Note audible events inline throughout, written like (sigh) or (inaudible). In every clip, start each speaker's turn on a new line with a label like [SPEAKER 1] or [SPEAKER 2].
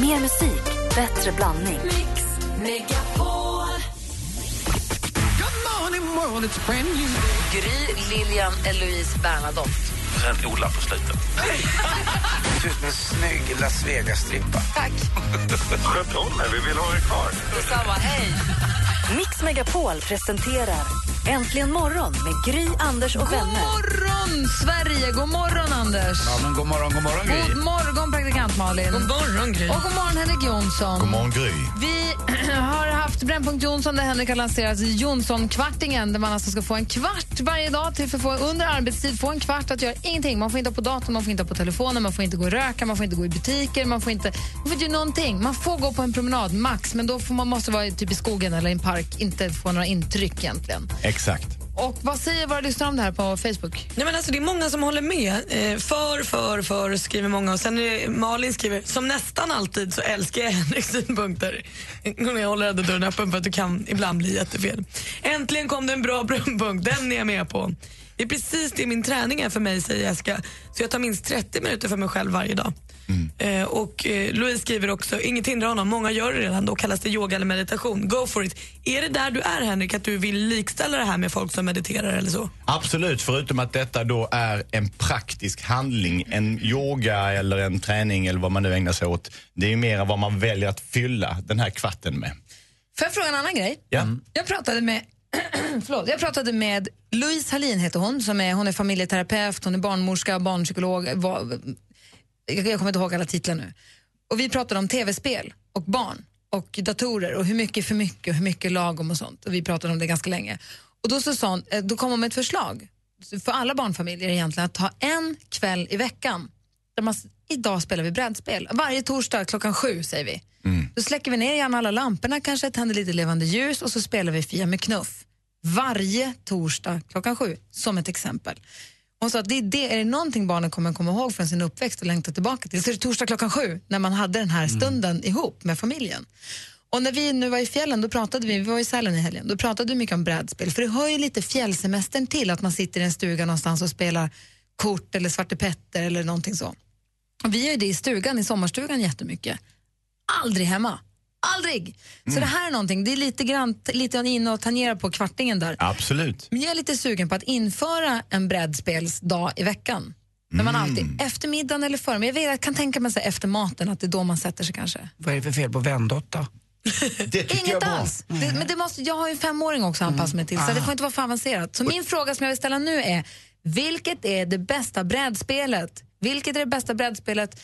[SPEAKER 1] Mer musik, bättre blandning.
[SPEAKER 2] Mix Megapol.
[SPEAKER 3] Gry, Lilian, Eloise, Bernadotte.
[SPEAKER 4] Och sen Ola på
[SPEAKER 5] (laughs)
[SPEAKER 4] slutet.
[SPEAKER 5] Det ser ut som Typ en snygg Las Vegas-strippa.
[SPEAKER 3] Tack.
[SPEAKER 4] Sköt om er, vi vill ha er kvar.
[SPEAKER 3] Detsamma. Hej.
[SPEAKER 1] Mix Megapol presenterar Äntligen morgon med Gry, Anders och
[SPEAKER 3] God
[SPEAKER 1] vänner.
[SPEAKER 3] morgon, Sverige! God morgon, Anders!
[SPEAKER 5] Ja, men god morgon, god morgon, Gry.
[SPEAKER 3] God morgon, praktikant Malin. God morgon, Gry. Och god morgon, Henrik Jonsson.
[SPEAKER 6] God morgon, Gry.
[SPEAKER 3] Vi (clears throat) har haft Brännpunkt Jonsson där Henrik har lanserat Jonsson-kvartingen där man alltså ska få en kvart varje dag till för att få under arbetstid få en kvart att göra ingenting. Man får inte ha på datorn, man får inte ha på telefonen, man får inte gå och röka, man får inte gå i butiker, man får inte man får inte göra någonting. Man får gå på en promenad max, men då får man måste vara i- typ i skogen eller i en park, inte få några intryck egentligen.
[SPEAKER 6] Exakt.
[SPEAKER 3] Och vad säger våra lyssnare om det här på Facebook?
[SPEAKER 7] Nej, men alltså, det är många som håller med. Eh, för, för, för skriver många. Och sen är det Malin skriver, som nästan alltid så älskar jag Henriks (laughs) synpunkter. Jag håller ändå dörren öppen för att du kan ibland bli jättefel. Äntligen kom det en bra brunpunkt, den är jag med på. Det är precis det min träning är för mig, säger Jessica. Så jag tar minst 30 minuter för mig själv varje dag. Eh, och eh, Louise skriver också, inget hindrar honom, många gör det redan, då kallas det yoga eller meditation. Go for it. Är det där du är Henrik, att du vill likställa det här med folk som mediterar eller så?
[SPEAKER 6] Absolut, förutom att detta då är en praktisk handling. En yoga eller en träning eller vad man nu ägnar sig åt. Det är ju mer vad man väljer att fylla den här kvarten med.
[SPEAKER 3] Får jag fråga en annan grej?
[SPEAKER 6] Ja.
[SPEAKER 7] Mm.
[SPEAKER 3] Jag pratade med (clears throat) Förlåt, jag pratade med Louise Hallin heter hon, som är, hon är familjeterapeut, hon är barnmorska, barnpsykolog. Var, jag, jag kommer inte ihåg alla titlar nu. Och vi pratade om tv-spel och barn och datorer och hur mycket är för mycket och hur mycket är lagom och sånt. Och vi pratade om det ganska länge. Och då, så sa hon, eh, då kom hon med ett förslag för alla barnfamiljer egentligen att ha en kväll i veckan där man, s- idag spelar vi brädspel. Varje torsdag klockan sju säger vi.
[SPEAKER 8] Mm.
[SPEAKER 3] Då släcker vi ner gärna alla lamporna kanske, tänder lite levande ljus och så spelar vi Fia med knuff. Varje torsdag klockan sju, som ett exempel. Hon sa att det är, det, är det någonting barnen kommer komma ihåg från sin uppväxt och längta tillbaka till så är det torsdag klockan sju när man hade den här stunden ihop med familjen. Och när vi nu var i fjällen, då pratade vi, vi var i Sälen i helgen, då pratade vi mycket om brädspel för det hör ju lite fjällsemestern till att man sitter i en stuga någonstans och spelar kort eller Svarte Petter eller någonting så. Och vi gör ju det i stugan, i sommarstugan jättemycket. Aldrig hemma. Aldrig! Så det här är någonting, det är lite grann lite inne och tangerar på kvartingen där.
[SPEAKER 6] Absolut.
[SPEAKER 3] Men jag är lite sugen på att införa en brädspelsdag i veckan. När man alltid, eftermiddagen eller förmiddagen, jag, vet, jag kan tänka mig så här, efter maten att det är då man sätter sig kanske.
[SPEAKER 5] Vad är det för fel
[SPEAKER 3] (laughs)
[SPEAKER 5] på vändotta?
[SPEAKER 6] Det tycker jag
[SPEAKER 3] Inget
[SPEAKER 6] är bra.
[SPEAKER 3] alls. Det, men det måste, jag har ju en femåring också att anpassa mig till, så det får inte vara för avancerat. Så min fråga som jag vill ställa nu är, vilket är det bästa brädspelet? Vilket är det bästa brädspelet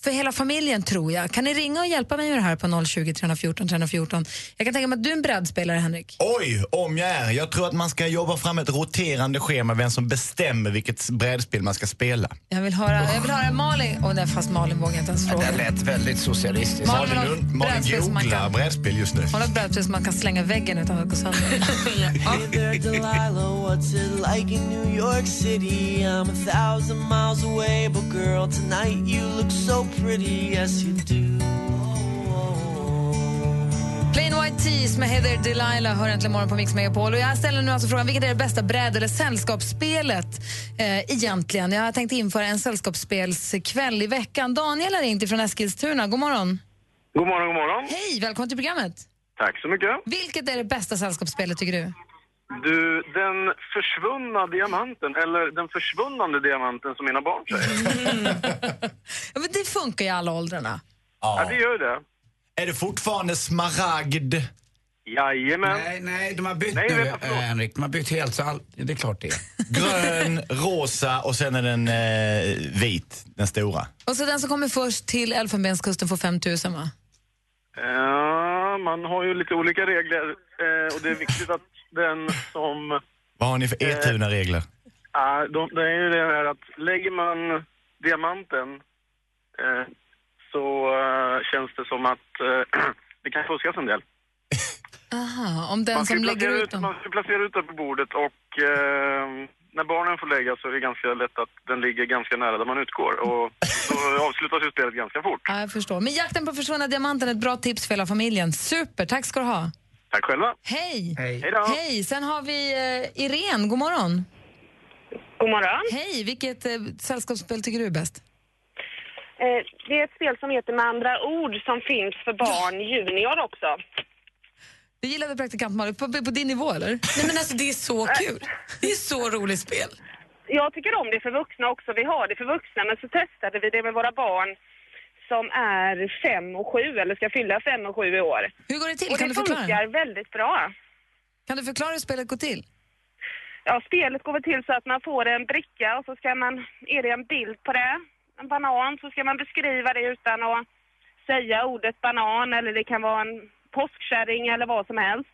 [SPEAKER 3] för hela familjen tror jag? Kan ni ringa och hjälpa mig med det här på 020 314 314? Jag kan tänka mig att du är en brädspelare Henrik.
[SPEAKER 6] Oj, om jag är. Jag tror att man ska jobba fram ett roterande schema vem som bestämmer vilket brädspel man ska spela.
[SPEAKER 3] Jag vill höra, jag vill höra Malin, oh, nej, fast Malin vågar jag inte ens fråga.
[SPEAKER 5] Det lät väldigt socialistiskt.
[SPEAKER 3] Malin
[SPEAKER 6] Malin,
[SPEAKER 3] har ett
[SPEAKER 6] Lund- Malin
[SPEAKER 3] brädspel som man
[SPEAKER 6] googlar
[SPEAKER 3] kan-
[SPEAKER 6] brädspel just nu.
[SPEAKER 3] Hon har ett brädspel som man kan slänga väggen utan att gå sönder.
[SPEAKER 9] Hey there, Delilah, what's it like in New York City? I'm a thousand miles away, but girl, tonight you look so pretty, yes you do.
[SPEAKER 3] Plain White Tees med Heather Delilah hör äntligen morgon på Mix Megapol. Och jag ställer nu alltså frågan, vilket är det bästa bräd eller sällskapsspelet eh, egentligen? Jag har tänkt införa en sällskapsspelskväll i veckan. Daniel har ringt ifrån Eskilstuna. God morgon.
[SPEAKER 10] God morgon, god morgon.
[SPEAKER 3] Hej, välkommen till programmet.
[SPEAKER 10] Tack så mycket.
[SPEAKER 3] Vilket är det bästa sällskapsspelet tycker du?
[SPEAKER 10] Du, den försvunna diamanten, eller den försvunnande diamanten som mina barn säger.
[SPEAKER 3] Ja, men det funkar ju i alla åldrarna.
[SPEAKER 10] Ja, det gör ju det.
[SPEAKER 6] Är det fortfarande smaragd?
[SPEAKER 10] Jajamän.
[SPEAKER 5] Nej, nej, de har bytt
[SPEAKER 10] Nej,
[SPEAKER 5] nu,
[SPEAKER 10] vänta, förlåt.
[SPEAKER 5] eh, Henrik. De har bytt helt, så all... det är klart det
[SPEAKER 10] (laughs)
[SPEAKER 5] är.
[SPEAKER 6] grön, rosa och sen är den eh, vit, den stora.
[SPEAKER 3] Och så den som kommer först till Elfenbenskusten får 5 000 va?
[SPEAKER 10] Ja, Eh, man har ju lite olika regler eh, och det är viktigt att den som...
[SPEAKER 6] Vad har ni
[SPEAKER 5] Eh,
[SPEAKER 6] för E etuna regler?
[SPEAKER 10] Ah, de, det är ju det här att lägger man diamanten eh, så eh, känns det som att eh, (clears throat) det kan fuskas en del.
[SPEAKER 3] Aha, om den
[SPEAKER 10] Man ska,
[SPEAKER 3] som
[SPEAKER 10] ju
[SPEAKER 3] lägger
[SPEAKER 10] placera
[SPEAKER 3] ut
[SPEAKER 10] ut,
[SPEAKER 3] dem.
[SPEAKER 10] man ska ju placera ut den på bordet och eh, när barnen får lägga så är det ganska lätt att den ligger ganska nära där man utgår och då avslutas ju spelet ganska fort.
[SPEAKER 3] Ja, jag förstår. Men jakten på försvunna diamanten är ett bra tips för hela familjen. Super, tack ska du ha.
[SPEAKER 10] Tack själva!
[SPEAKER 3] Hej!
[SPEAKER 5] Hej.
[SPEAKER 10] Hej då!
[SPEAKER 3] Hej, sen har vi eh, Irene, god morgon.
[SPEAKER 11] God morgon.
[SPEAKER 3] Hej, vilket eh, sällskapsspel tycker du är bäst?
[SPEAKER 11] Eh, det är ett spel som heter Med andra ord som finns för barn junior också.
[SPEAKER 3] Du gillade praktikant Malin, på, på din nivå eller?
[SPEAKER 7] Nej men alltså det är
[SPEAKER 11] Äh.
[SPEAKER 7] så kul. Det är så roligt spel.
[SPEAKER 11] Jag tycker om det för vuxna också. Vi har det för vuxna, men så testade vi det med våra barn som är fem och sju, eller ska fylla fem och sju i år.
[SPEAKER 3] Hur går det till?
[SPEAKER 11] Och
[SPEAKER 3] Kan
[SPEAKER 11] det
[SPEAKER 3] du förklara?
[SPEAKER 11] funkar väldigt bra.
[SPEAKER 3] Kan du förklara hur spelet går till?
[SPEAKER 11] Ja, spelet går väl till så att man får en bricka och så ska man, är det en bild på det, en banan, så ska man beskriva det utan att säga ordet banan eller det kan vara en påskkärring eller vad som helst.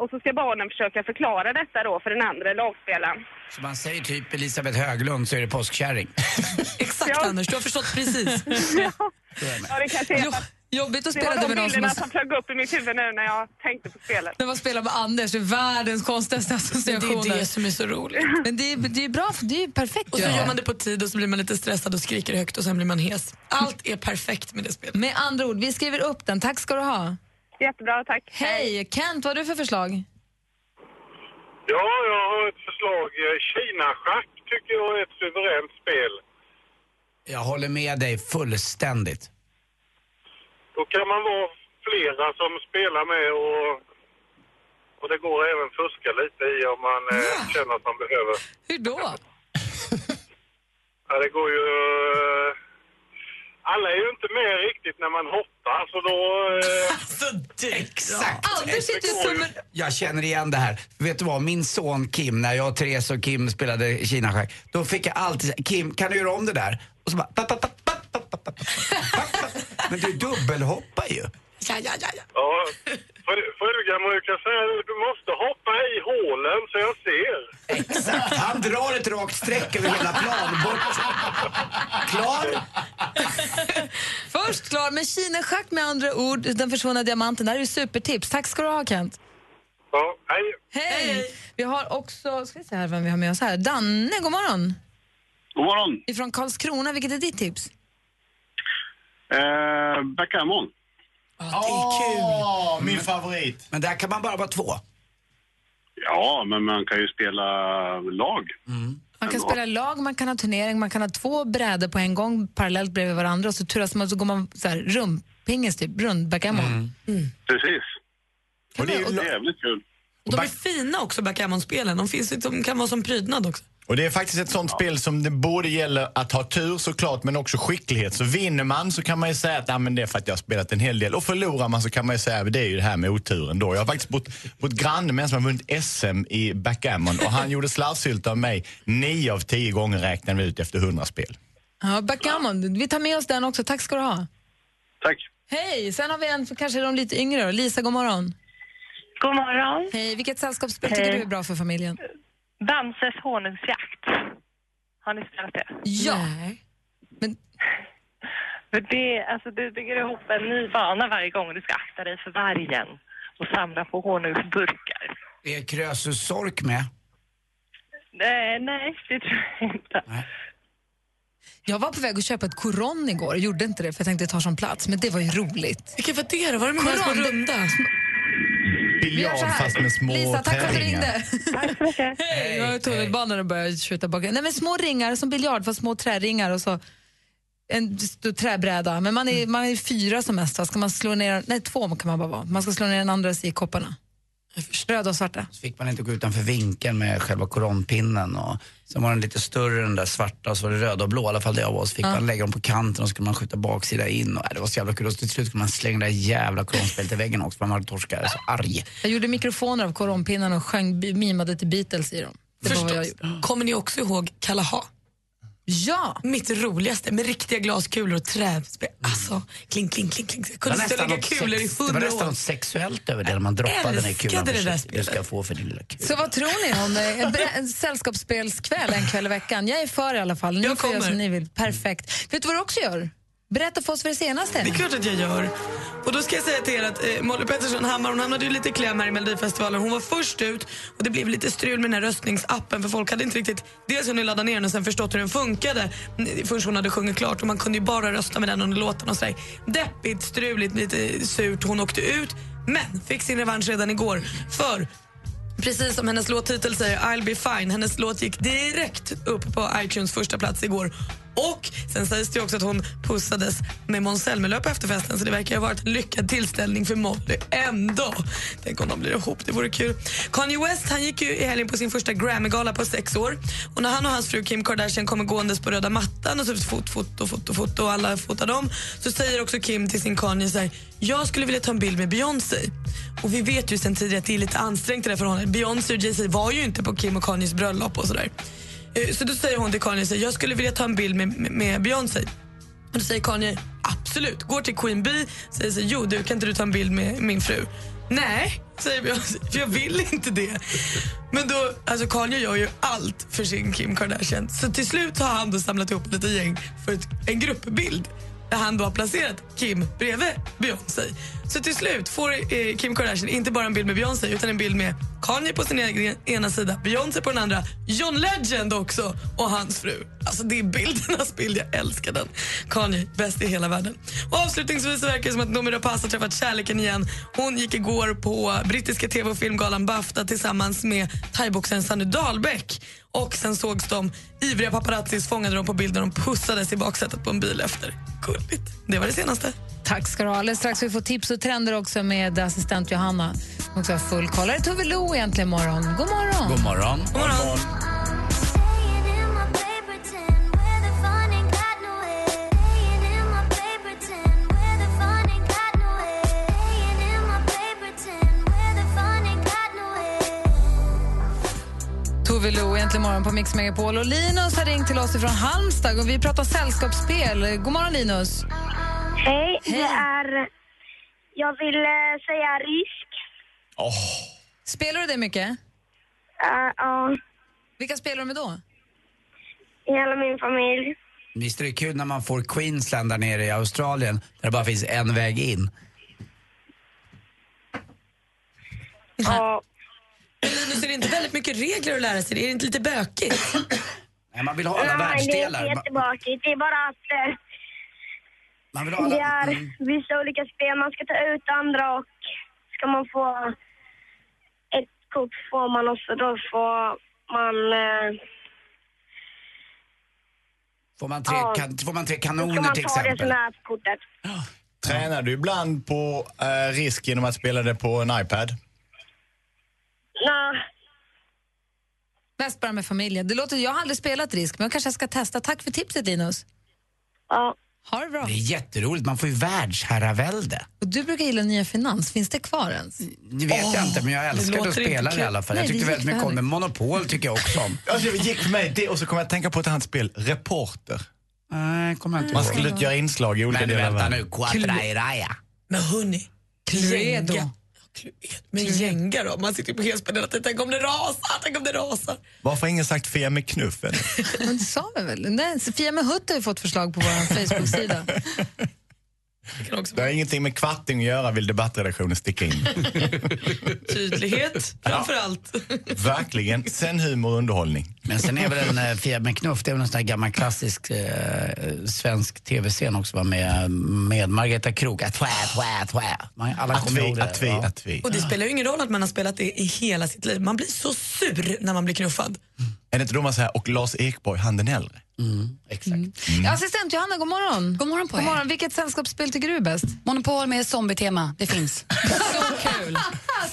[SPEAKER 11] Och så ska barnen försöka förklara detta då för den andra lagspelaren.
[SPEAKER 5] Så man säger typ Elisabeth Höglund så är det påskkärring.
[SPEAKER 7] Exakt
[SPEAKER 11] Ja.
[SPEAKER 7] Anders, du har förstått precis.
[SPEAKER 11] (laughs) Ja, det kanske är
[SPEAKER 3] Jo,
[SPEAKER 11] att
[SPEAKER 3] jobbigt att
[SPEAKER 11] det
[SPEAKER 3] spela det
[SPEAKER 11] var de
[SPEAKER 3] med någon som
[SPEAKER 11] bilderna
[SPEAKER 3] har...
[SPEAKER 11] som flög upp i mitt huvud nu när jag tänkte på spelet.
[SPEAKER 3] När man spelar med Anders, det är världens konstigaste
[SPEAKER 7] Det är det
[SPEAKER 3] associationer.
[SPEAKER 7] som är så roligt.
[SPEAKER 3] Men det är, det är ju bra, för det är ju perfekt.
[SPEAKER 7] Och så
[SPEAKER 3] ju.
[SPEAKER 7] gör man det på tid och så blir man lite stressad och skriker högt och sen blir man hes. Allt är perfekt med det spelet.
[SPEAKER 3] Med andra ord, vi skriver upp den. Tack ska du ha.
[SPEAKER 11] Jättebra, tack.
[SPEAKER 3] Hej! Kent, vad har du för förslag?
[SPEAKER 10] Ja, jag har ett förslag. Eh, Kina-schack tycker jag är ett suveränt spel.
[SPEAKER 5] Jag håller med dig fullständigt.
[SPEAKER 10] Då kan man vara flera som spelar med och, och det går även fuska lite i om man eh, känner att man behöver.
[SPEAKER 3] Hur då?
[SPEAKER 10] Ja, det går ju... eh, Alla är ju inte med riktigt när man hoppar, så då... Eh,
[SPEAKER 5] Exakt!
[SPEAKER 3] Anders sitter ju som en...
[SPEAKER 5] Jag känner igen det här. Vet du vad, min son Kim, när jag och Therese och Kim spelade kinaschack, då fick jag alltid säga Kim, kan du göra om det där? Och så bara... "Pa, pa, pa, pa, pa, pa, pa, pa, pa, pa." Men du dubbelhoppar ju.
[SPEAKER 7] Ja, ja, ja, ja.
[SPEAKER 10] ja, fru- frugan brukar säga du måste hoppa i hålen så jag ser.
[SPEAKER 5] Exakt. Han drar ett rakt streck över hela plan. Bort. Klar?
[SPEAKER 3] Först klar, men Kina-schack med andra ord, den försvunna diamanten. Det här är ju supertips. Tack ska du ha, Kent.
[SPEAKER 10] Ja, hej.
[SPEAKER 3] Hej! Vi har också, ska vi se här vem vi har med oss här. Danne, god morgon!
[SPEAKER 10] God morgon.
[SPEAKER 3] Ifrån Karlskrona, vilket är ditt tips?
[SPEAKER 10] Eh, Backgammon.
[SPEAKER 6] Åh, min favorit.
[SPEAKER 5] Men där kan man bara vara två.
[SPEAKER 10] Ja, men man kan ju spela lag.
[SPEAKER 3] Man kan
[SPEAKER 10] Ändå.
[SPEAKER 3] spela lag, man kan ha turnering, man kan ha två brädor på en gång parallellt bredvid varandra och så turas man så går man så här rumpingis typ, rund Mm. backgammon.
[SPEAKER 7] Mm.
[SPEAKER 5] Mm.
[SPEAKER 10] Precis.
[SPEAKER 6] Och det, är, ju-
[SPEAKER 10] Jävligt kul.
[SPEAKER 7] De är fina också, backgammon-spelen. De, finns, ju- de kan vara som prydnad också.
[SPEAKER 6] och det är faktiskt ett sånt spel som det både gäller att ha tur såklart men också skicklighet. Så vinner man så kan man ju säga att "Ah, men det är för att jag har spelat en hel del. Och förlorar man så kan man ju säga att det är ju det här med oturen då. Jag har faktiskt bott på ett granne med en som har vunnit SM i backgammon och han gjorde slarvsylta av mig nio av tio gånger räknade vi ut efter hundra spel.
[SPEAKER 3] Ja, backgammon, vi tar med oss den också. Tack ska du ha.
[SPEAKER 10] Tack.
[SPEAKER 3] Hej! Sen har vi en för kanske de lite yngre då. Lisa, god morgon.
[SPEAKER 11] God morgon.
[SPEAKER 3] Hej, vilket sällskapsspel tycker
[SPEAKER 11] Hej.
[SPEAKER 3] du är bra för familjen?
[SPEAKER 11] Bamses honungsjakt. Har ni spelat det?
[SPEAKER 3] Ja.
[SPEAKER 11] För det, alltså, du bygger ihop en ny bana varje gång du ska akta dig för vargen och samla på honungsburkar.
[SPEAKER 5] Det är Krösus Sork med.
[SPEAKER 11] Nej, nej, det tror jag inte.
[SPEAKER 3] Jag var på väg att köpa ett koron igår, gjorde inte det för jag tänkte ta sån plats, men det var ju roligt.
[SPEAKER 7] Vilken var det då? Var det med några små
[SPEAKER 3] Koran, det-
[SPEAKER 7] runda?
[SPEAKER 3] Vi gör
[SPEAKER 6] Biljard
[SPEAKER 3] så här.
[SPEAKER 6] fast med små
[SPEAKER 3] Lisa, tack för att du
[SPEAKER 6] tärningar.
[SPEAKER 3] ringde.
[SPEAKER 11] Tack så mycket.
[SPEAKER 3] Hej, jag var i tunnelbanan och började skjuta bak. Nej, men små ringar som biljard, fast små träringar och så en stor träbräda. Men man är, man är fyra som mest, va? Ska man slå ner, nej två kan man bara vara. Man ska slå ner den andra i kopparna. Röda och svarta.
[SPEAKER 5] Så fick man inte gå utanför vinkeln med själva koronpinnen. Och sen var den lite större, den där svarta, och så var det röda och blå, i alla fall det jag var. Så fick man lägga dem på kanten och så skulle man skjuta baksida in. Och, äh, det var så jävla kul. Och så till slut skulle man slänga det där jävla koronspelet i väggen också, för man var torskare. Så arg.
[SPEAKER 3] Jag gjorde mikrofoner av koronpinnarna och sjöng, bi- mimade till Beatles i dem. Det var vad jag gjorde.
[SPEAKER 7] Förstås. Kommer ni också ihåg Kalaha?
[SPEAKER 3] Ja!
[SPEAKER 7] Mitt roligaste med riktiga glaskulor och träspel. Alltså, kling, kling, kling, kling. Jag
[SPEAKER 5] Mm. Det var
[SPEAKER 7] kunde
[SPEAKER 5] nästan
[SPEAKER 7] lägga
[SPEAKER 5] något
[SPEAKER 7] kulor i
[SPEAKER 5] sex- Det var
[SPEAKER 7] hundra
[SPEAKER 5] nästan
[SPEAKER 7] år.
[SPEAKER 5] något sexuellt över det, när man droppade den i kulan.
[SPEAKER 7] älskade det där
[SPEAKER 5] Försiktigt, Du
[SPEAKER 7] spelet.
[SPEAKER 5] ska få för din lilla kula.
[SPEAKER 3] Så vad tror ni om eh, en, brä- en sällskapsspelskväll en kväll i veckan? Jag är för i alla fall. Ni
[SPEAKER 7] Jag
[SPEAKER 3] får göra
[SPEAKER 7] kommer.
[SPEAKER 3] som ni vill. Perfekt. Vet du vad du också gör? Berätta för oss vad det senaste
[SPEAKER 7] Det är
[SPEAKER 3] är.
[SPEAKER 7] klart att jag gör. Och då ska jag säga till er att eh, Molly Pettersson Hammar hon hamnade ju lite i kläm här i Melodifestivalen. Hon var först ut och det blev lite strul med den här röstningsappen för folk hade inte riktigt dels hunnit ladda ner den och sen förstått hur den funkade mm, förrän hon hade sjungit klart och man kunde ju bara rösta med den under låten och sådär. Deppigt, struligt, lite surt. Hon åkte ut men fick sin revansch redan igår för Precis som hennes låttitel säger, I'll be fine. Hennes låt gick direkt upp på iTunes första plats igår Och sen sägs det ju också att hon pussades med Måns Zelmerlöw på efterfesten så det verkar ju ha varit en lyckad tillställning för Molly ändå. Tänk om de blir ihop, det vore kul. Kanye West han gick ju i helgen på sin första Grammy-gala på sex år. Och när han och hans fru Kim Kardashian kommer gåendes på röda mattan och så foto, foto, foto, foto och alla fotar dem så säger också Kim till sin Kanye så här, jag skulle vilja ta en bild med Beyoncé. Och vi vet ju sen tidigare att det är lite ansträngt det där förhållandet. Beyoncé och Jay-Z var ju inte på Kim och Kanyes bröllop och sådär. Eh, Så då säger hon till Kanye, så här, jag skulle vilja ta en bild med, med, med Beyoncé. Och då säger Kanye, absolut. Går till Queen Bee, säger så här, jo du kan inte du ta en bild med min fru? Nej, säger Beyoncé, för jag vill inte det. Men då, alltså Kanye gör ju allt för sin Kim Kardashian. Så till slut har han då samlat ihop lite gäng för ett, en gruppbild där han då har placerat Kim bredvid Beyoncé. Så till slut får eh, Kim Kardashian inte bara en bild med Beyoncé utan en bild med Kanye på sin egen, ena sida, Beyoncé på den andra, John Legend också och hans fru. Alltså det är bildernas bild, jag älskar den. Kanye, bäst i hela världen. Och avslutningsvis så verkar det som att Noomi Rapace har träffat kärleken igen. Hon gick igår på brittiska tv och filmgalan Bafta tillsammans med thaiboxaren Sanny Dahlbäck. Och sen sågs de, ivriga paparazzis fångade dem på bild när de pussades i baksätet på en bil efter. Gulligt. Det var det senaste.
[SPEAKER 3] Tack ska du ha. Alldeles strax vi får tips och trender också med assistent Johanna. Hon också har full koll. Här är Tove Lo egentligen imorgon. God morgon!
[SPEAKER 5] God morgon.
[SPEAKER 7] God morgon.
[SPEAKER 3] Tove Lo egentligen imorgon på Mix Megapol. Och Linus har ringt till oss ifrån Halmstad och vi pratar sällskapsspel. God morgon Linus!
[SPEAKER 12] Hej, det är... Jag vill eh, säga risk.
[SPEAKER 3] Spelar du det mycket?
[SPEAKER 12] Ja, ja.
[SPEAKER 3] Vilka spelar du med då?
[SPEAKER 12] hela min familj.
[SPEAKER 5] Visst är det kul när man får Queensland där nere i Australien där det bara finns en väg in?
[SPEAKER 12] Ja.
[SPEAKER 7] Men (laughs) Linus, är det inte väldigt mycket regler att lära sig? Är det inte lite bökigt?
[SPEAKER 5] Nej, man vill ha
[SPEAKER 12] Nej,
[SPEAKER 5] alla
[SPEAKER 12] det är inte
[SPEAKER 5] världsdelar. Man,
[SPEAKER 12] jättebakigt. Det är bara att eh,
[SPEAKER 5] man vill ha
[SPEAKER 12] det är
[SPEAKER 5] alla... Mm.
[SPEAKER 12] vissa olika spel. Man ska ta ut andra och ska man få ett kort får man och så då får man... eh,
[SPEAKER 5] Får man, tre,
[SPEAKER 12] Ja.
[SPEAKER 5] kan, får man tre
[SPEAKER 12] Då ska
[SPEAKER 5] kanoner
[SPEAKER 12] man
[SPEAKER 5] till
[SPEAKER 12] ta det
[SPEAKER 5] exempel?
[SPEAKER 12] som är på kortet.
[SPEAKER 6] Tränar du ibland på eh, risk genom att spela det på en iPad?
[SPEAKER 12] Nej,
[SPEAKER 3] Mest bara med familjen. Det låter, jag har aldrig spelat risk, men jag kanske ska testa. Tack för tipset Linus.
[SPEAKER 12] ja.
[SPEAKER 3] Ha det bra.
[SPEAKER 5] Det är jätteroligt, man får ju världsherravälde.
[SPEAKER 3] Och du brukar gilla Nya Finans. Finns det kvar ens?
[SPEAKER 5] Det vet jag inte, men jag älskade
[SPEAKER 7] låter
[SPEAKER 5] att
[SPEAKER 7] inte
[SPEAKER 5] spela det i
[SPEAKER 7] kul.
[SPEAKER 5] alla fall.
[SPEAKER 3] Nej,
[SPEAKER 5] jag tyckte
[SPEAKER 3] det
[SPEAKER 5] väldigt
[SPEAKER 3] gick
[SPEAKER 5] mycket om
[SPEAKER 3] väl.
[SPEAKER 5] det. Monopol tycker jag också om.
[SPEAKER 6] Alltså, jag gick med det och så kom jag att tänka på ett annat spel, Reporter.
[SPEAKER 5] Nej, kommer jag inte
[SPEAKER 6] Man
[SPEAKER 5] ihåg.
[SPEAKER 6] skulle inte göra inslag i
[SPEAKER 5] Nej,
[SPEAKER 6] olika
[SPEAKER 5] men
[SPEAKER 6] delar av
[SPEAKER 5] vänta
[SPEAKER 6] världen.
[SPEAKER 5] nu. Quattro i raya.
[SPEAKER 7] Men hörni,
[SPEAKER 3] Cluedo.
[SPEAKER 7] Jenga. Cluedo. Men Jenga då? Man sitter ju på helspänn hela tiden. Tänk om det rasar, tänk om det rasar.
[SPEAKER 6] Varför har ingen sagt Fia med knuffen?
[SPEAKER 3] Men det sa vi väl? Nej, Sofia med Hutt har ju fått förslag på vår Facebook-sida.
[SPEAKER 7] (laughs) Det kan också
[SPEAKER 6] Det
[SPEAKER 7] vara
[SPEAKER 6] har ingenting med kvatting att göra, vill debattredaktionen sticka in.
[SPEAKER 7] (laughs) tydlighet framför allt.
[SPEAKER 6] (laughs) Verkligen. Sen humor och underhållning.
[SPEAKER 5] Men sen är väl en eh, Fia med knuff, det är väl en sån här gammal klassisk eh, eh, svensk tv-scen också va, med, med Margareta Krook. Att tvä, tvä, tvä. Man- Alla
[SPEAKER 6] Att
[SPEAKER 5] kommer ihåg
[SPEAKER 6] vi,
[SPEAKER 5] det.
[SPEAKER 6] att vi,
[SPEAKER 5] ja.
[SPEAKER 6] att vi.
[SPEAKER 7] Och det spelar ju ingen roll att man har spelat det i hela sitt liv. Man blir så sur när man blir knuffad.
[SPEAKER 6] (laughs) Är det inte då man säger, och Lars Ekborg, han den äldre?
[SPEAKER 5] Exakt.
[SPEAKER 3] Mm. Assistent Johanna, god morgon.
[SPEAKER 2] God morgon på
[SPEAKER 3] God
[SPEAKER 2] er.
[SPEAKER 3] morgon. Vilket sällskapsspel tycker du är bäst?
[SPEAKER 2] Monopol med zombietema, det finns.
[SPEAKER 3] Så (laughs) kul!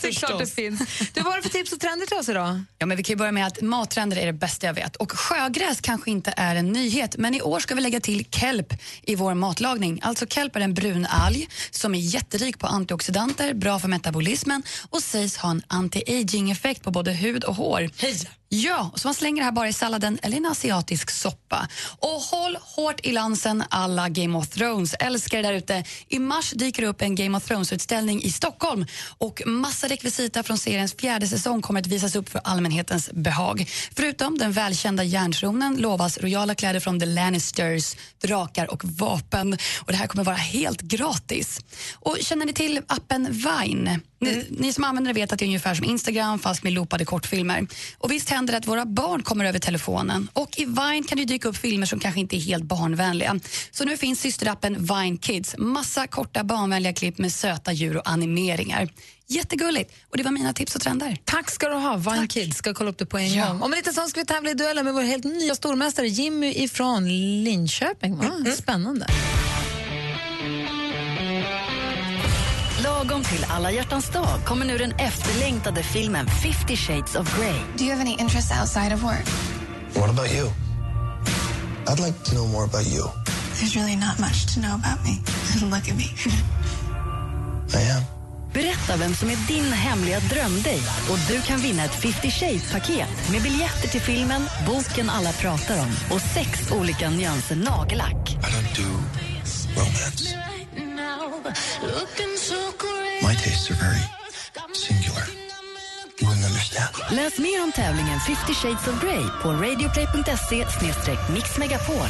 [SPEAKER 3] Såklart det finns. Du, vad har du för (laughs) tips och trender till oss idag?
[SPEAKER 2] Ja, men vi kan ju börja med att matränder är det bästa jag vet. Och sjögräs kanske inte är en nyhet, men i år ska vi lägga till kelp i vår matlagning. Alltså kelp är en brun alg som är jätterik på antioxidanter, bra för metabolismen och sägs ha en anti-aging-effekt på både hud och hår.
[SPEAKER 7] Hej!
[SPEAKER 2] Ja, så man slänger det här bara i salladen eller i en asiatisk soppa. Och håll hårt i lansen alla Game of Thrones. Älskar det där ute. I mars dyker det upp en Game of Thrones-utställning i Stockholm och massa rekvisita från seriens fjärde säsong kommer att visas upp för allmänhetens behag. Förutom den välkända järntronen lovas rojala kläder från The Lannisters, drakar och vapen. Och det här kommer vara helt gratis. Och känner ni till appen
[SPEAKER 3] Mm.
[SPEAKER 2] Vine? Ni, ni som använder det vet att det är ungefär som Instagram fast med loopade kortfilmer. Och visst händer händer att våra barn kommer över telefonen och i Vine kan det ju dyka upp filmer som kanske inte är helt barnvänliga. Så nu finns systerappen Vine Kids, massa korta barnvänliga klipp med söta djur och animeringar. Jättegulligt! Och det var mina tips och trender.
[SPEAKER 3] Tack ska du ha, Vine Kids. Ska kolla upp det på en
[SPEAKER 2] Ja.
[SPEAKER 3] gång. Om en liten stund ska vi tävla i duellen med vår helt nya stormästare Jimmy ifrån Linköping. Va? Spännande.
[SPEAKER 1] Lagom till alla hjärtans dag kommer nu den efterlängtade filmen 50 shades of Grey.
[SPEAKER 13] Do you have any interests outside of work?
[SPEAKER 14] What about you? I'd like to know more about you.
[SPEAKER 13] There's really not much to know about me. (laughs) Look at me.
[SPEAKER 1] Berätta vem som är din hemliga drömdejt och du kan vinna ett 50 Shades-paket med biljetter till filmen, boken alla pratar om och sex olika nyanser nagellack.
[SPEAKER 14] I don't do romance. My tastes are very singular. You wouldn't understand.
[SPEAKER 1] Läs mer om tävlingen 50 Shades of Grey på radioplay.se mixmegapol.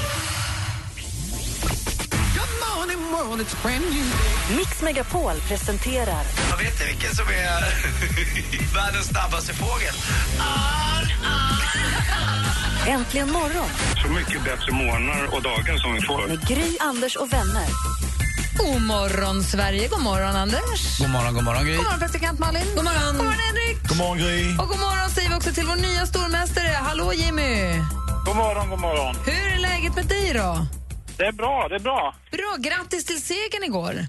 [SPEAKER 1] Mix Megapol presenterar
[SPEAKER 5] Jag vet inte vilken som är (laughs) världens snabbaste fågel.
[SPEAKER 1] Äntligen morgon
[SPEAKER 4] Så mycket bättre månader och dagar som vi får.
[SPEAKER 1] med Gry, Anders och vänner.
[SPEAKER 3] God morgon, Sverige. God morgon, Anders.
[SPEAKER 5] God morgon, god morgon Gry.
[SPEAKER 3] God morgon, praktikant Malin. God morgon, god morgon Henrik.
[SPEAKER 6] God morgon, Gry.
[SPEAKER 3] Och god morgon säger vi också till vår nya stormästare. Hallå, Jimmy.
[SPEAKER 8] God morgon, god morgon.
[SPEAKER 3] Hur är läget med dig då?
[SPEAKER 8] Det är bra, det är bra.
[SPEAKER 3] Bra, grattis till segern igår.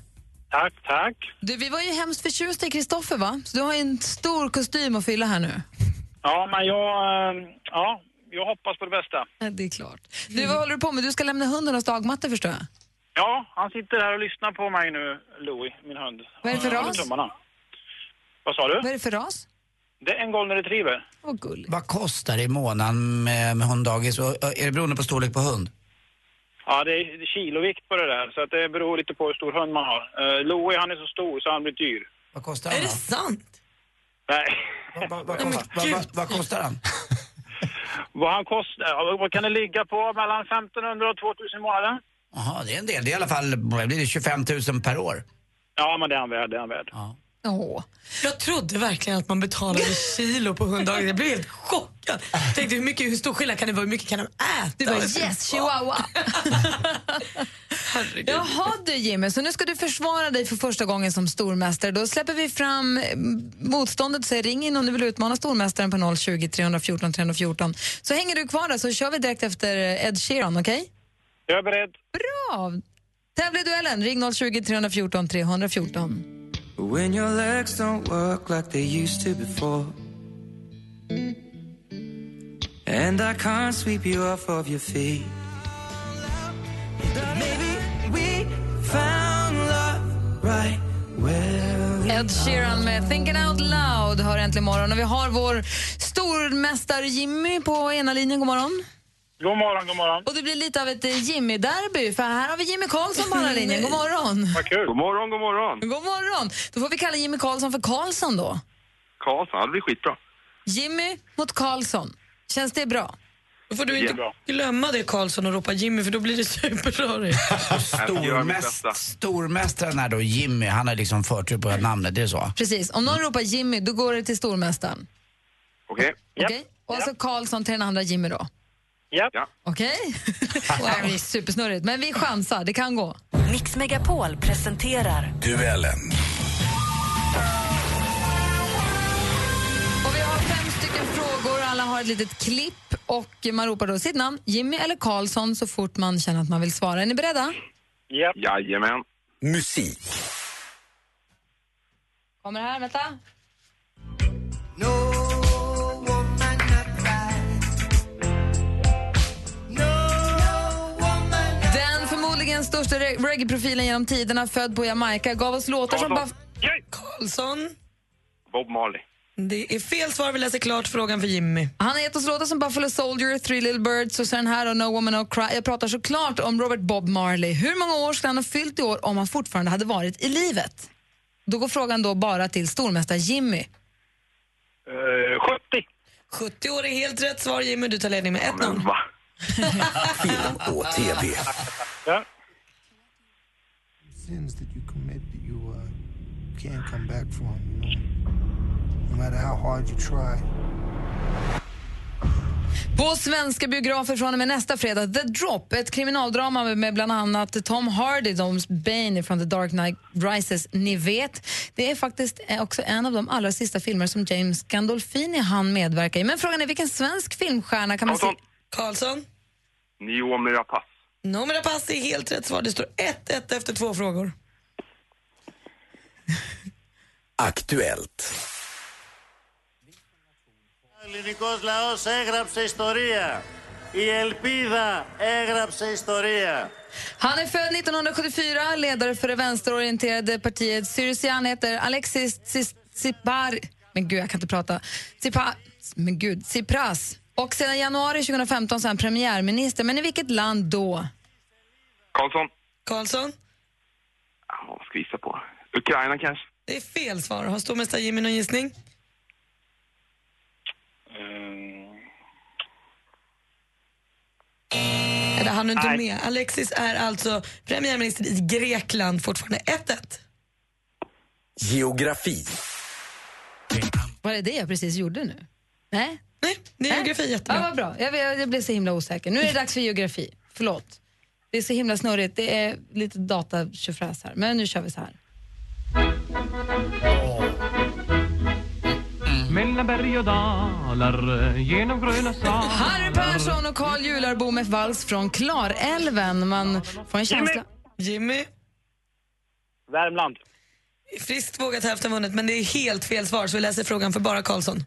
[SPEAKER 8] Tack, tack.
[SPEAKER 3] Du, vi var ju hemskt förtjusta i Kristoffer, va? Så du har ju en stor kostym att fylla här nu.
[SPEAKER 8] Ja, men jag, eh, ja, jag hoppas på det bästa.
[SPEAKER 3] Ja, Det är klart. Du, vad håller du på med? Du ska lämna hunden hos dagmatte, förstår jag.
[SPEAKER 8] Ja, han sitter här och lyssnar på mig nu, Louis, min hund.
[SPEAKER 3] Vad är det för
[SPEAKER 8] Han håller
[SPEAKER 3] ras?
[SPEAKER 8] tummarna. Vad sa du?
[SPEAKER 3] Vad är det för ras?
[SPEAKER 8] Det är en golden retriever.
[SPEAKER 3] Vad gulligt.
[SPEAKER 5] Vad kostar det i månaden med, med hunddagis? Och, ö, Är det beroende på storlek på hund?
[SPEAKER 8] Ja, det är kilovikt på det där, så att det beror lite på hur stor hund man har. Eh, Louis, han är så stor så han blir dyr.
[SPEAKER 5] Vad kostar han? Är det
[SPEAKER 7] sant?
[SPEAKER 8] Nej.
[SPEAKER 5] Vad, kostar han?
[SPEAKER 8] (laughs) vad han kostar? ja, Vad kan det ligga på? Mellan 1500 och 2000 i månaden?
[SPEAKER 5] Jaha, det är en del. Det är i alla fall vad blir det 25 000 per år.
[SPEAKER 8] Ja, men det är han värd, det är han värd.
[SPEAKER 7] Jag trodde verkligen att man betalade kilo på hunddagen. Jag blev helt chockad. Tänkte hur, mycket, hur stor skillnad kan det vara? Hur mycket kan de äta?
[SPEAKER 3] Du bara yes, chihuahua. Jaha du Jimmy, så nu ska du försvara dig för första gången som stormästare. Då släpper vi fram eh, motståndet, säger ring in om du vill utmana stormästaren på 020 314 314. Så hänger du kvar där så kör vi direkt efter Ed Sheeran, okej?
[SPEAKER 8] Jag är beredd.
[SPEAKER 3] Bra! Tävla i duellen, ring 020 314 314.
[SPEAKER 15] When your legs don't work like they used to before. And I can't sweep you off of your feet. Maybe we found love right
[SPEAKER 3] Ed Sheeran med Thinking Out Loud hör äntligen morgon och vi har vår stormästare Jimmy på ena linjen, god morgon.
[SPEAKER 8] God morgon, god morgon.
[SPEAKER 3] Och det blir lite av ett eh, Jimmy-derby, för här har vi Jimmy Karlsson på
[SPEAKER 8] (laughs)
[SPEAKER 3] andra linjen. God morgon!
[SPEAKER 8] Vad kul. God morgon, god morgon.
[SPEAKER 3] God morgon! Då får vi kalla Jimmy Karlsson för Karlsson då.
[SPEAKER 8] Karlsson, ja, det blir skitbra.
[SPEAKER 3] Jimmy mot Karlsson. Känns det bra?
[SPEAKER 7] Då får du inte
[SPEAKER 8] Jättebra.
[SPEAKER 7] glömma det Karlsson och ropa Jimmy för då blir det
[SPEAKER 6] (laughs)
[SPEAKER 7] superrörigt.
[SPEAKER 5] Stormäst, stormästaren är då Jimmy. Han har liksom förtur på namnet, det är så?
[SPEAKER 3] Precis. Om någon ropar Jimmy, då går det till stormästaren.
[SPEAKER 5] Okej.
[SPEAKER 3] Okej? Och alltså Karlsson till den andra Jimmy då.
[SPEAKER 8] Ja.
[SPEAKER 3] Okej? wow, det är supersnurrigt, men vi chansar. Det kan gå.
[SPEAKER 1] Mix Megapol presenterar
[SPEAKER 4] Duellen.
[SPEAKER 3] Och vi har fem stycken frågor. Alla har ett litet klipp och man ropar då sitt namn, Jimmy eller Karlsson, så fort man känner att man vill svara. Är ni beredda?
[SPEAKER 8] Yep.
[SPEAKER 4] Jajamän. Musik.
[SPEAKER 3] Kommer här, vänta. Den förmodligen största re- reggae-profilen genom tiderna, född på Jamaica, gav oss låtar som bara...
[SPEAKER 7] Karlsson. Karlsson.
[SPEAKER 4] Bob Marley.
[SPEAKER 7] Det är fel svar. Vi läser klart frågan för Jimmy.
[SPEAKER 3] Han har gett oss låtar som Buffalo Soldier, Three Little Birds och så den här och No Woman No Cry. Jag pratar såklart om Robert Bob Marley. Hur många år skulle han ha fyllt i år om han fortfarande hade varit i livet? Då går frågan då bara till stormästare Jimmy.
[SPEAKER 8] 70.
[SPEAKER 7] 70 år är helt rätt svar Jimmy. Du tar ledning med 1-0.
[SPEAKER 4] Film och TV.
[SPEAKER 14] Sins that you commit that you uh, can't come back from, you know? No matter how hard you try.
[SPEAKER 3] På svenska biografer från och med nästa fredag, The Drop, ett kriminaldrama med bland annat Tom Hardy, som Bane från The Dark Knight Rises, ni vet. Det är faktiskt eh, också en av de allra sista filmer som James Gandolfini han medverka i. Men frågan är vilken svensk filmstjärna kan man se...
[SPEAKER 7] Karlsson?
[SPEAKER 10] Niomira Pass.
[SPEAKER 7] Nomera pass är helt rätt svar. Det står 1-1 efter två frågor.
[SPEAKER 4] Aktuellt.
[SPEAKER 16] Ελληνικός λαός έγραψε ιστορία. Η ελπίδα έγραψε ιστορία.
[SPEAKER 3] Han är född 1974, ledare för det vänsterorienterade partiet Syrizian heter Alexis Tsis- Tsipar... Men gud, jag kan inte prata. Tsipa, men gud, Tsipras. Och sedan januari 2015 så är han premiärminister. Men i vilket land då?
[SPEAKER 10] Karlsson,
[SPEAKER 7] Karlsson?
[SPEAKER 10] vad ska vi gissa på? Ukraina kanske?
[SPEAKER 7] Det är fel svar. Har stormästare Jimmy någon gissning?
[SPEAKER 3] Eh,
[SPEAKER 7] Nej, Det hann du inte
[SPEAKER 10] Nej.
[SPEAKER 7] med. Alexis är alltså premiärminister i Grekland, fortfarande 1-1.
[SPEAKER 4] Geografi.
[SPEAKER 3] Vad är det jag precis gjorde nu? Nej?
[SPEAKER 7] Nej, det är geografi jättebra.
[SPEAKER 3] Ja, vad bra. Jag, jag, jag blev så himla osäker. Nu är det dags för geografi. Förlåt. Det är så himla snurrigt. Det är lite data här. Men nu kör vi så här.
[SPEAKER 17] Mellan berg och dalar, genom gröna salar
[SPEAKER 3] Harry Persson och Carl Jularbo med vals från Klarälven. Man får en känsla...
[SPEAKER 7] Jimmy?
[SPEAKER 8] Värmland.
[SPEAKER 7] Friskt vågat hälften vunnet, men det är helt fel svar så vi läser frågan för bara Karlsson.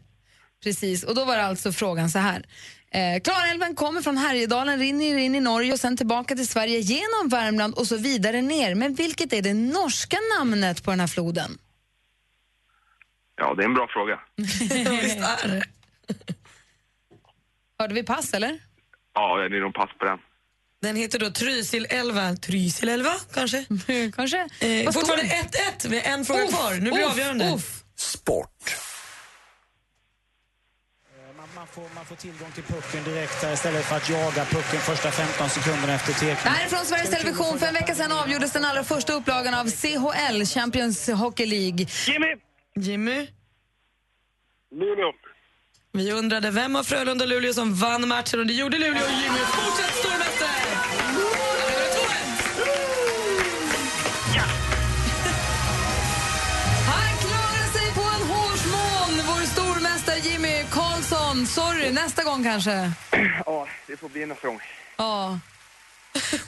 [SPEAKER 3] Precis, och då var det alltså frågan så här. Eh, Klarälven kommer från Härjedalen, rinner in i Norge och sen tillbaka till Sverige genom Värmland och så vidare ner. Men vilket är det norska namnet på den här floden?
[SPEAKER 10] Ja, det är en bra fråga.
[SPEAKER 3] Hörde vi pass eller?
[SPEAKER 10] Ja, det är nog pass på den.
[SPEAKER 7] Den heter då Trysilälva. Trysilälva, kanske?
[SPEAKER 3] (laughs) kanske.
[SPEAKER 7] Eh,
[SPEAKER 3] Vad står
[SPEAKER 7] fortfarande
[SPEAKER 3] det?
[SPEAKER 7] 1-1 med en fråga
[SPEAKER 3] Uff,
[SPEAKER 7] kvar. Nu blir det
[SPEAKER 3] uff,
[SPEAKER 7] avgörande.
[SPEAKER 3] uff.
[SPEAKER 4] Sport.
[SPEAKER 18] Eh, Man får, man får tillgång till pucken direkt där istället för att jaga pucken första 15 sekunderna efter
[SPEAKER 3] Det
[SPEAKER 18] teken.
[SPEAKER 3] här är från Sveriges Television. För en vecka sedan avgjordes den allra första upplagan av CHL, Champions Hockey League.
[SPEAKER 8] Jimmy!
[SPEAKER 7] Jimmy?
[SPEAKER 8] Luleå.
[SPEAKER 7] Vi undrade vem av Frölunda och Luleå som vann matchen och det gjorde Luleå. Jimmy fortsätt stormästare!
[SPEAKER 3] Han klarar sig på en hårsmån, vår stormästare Jimmy Karlsson. Sorry, nästa gång kanske.
[SPEAKER 10] Ja, det får bli nästa gång.
[SPEAKER 3] Ja.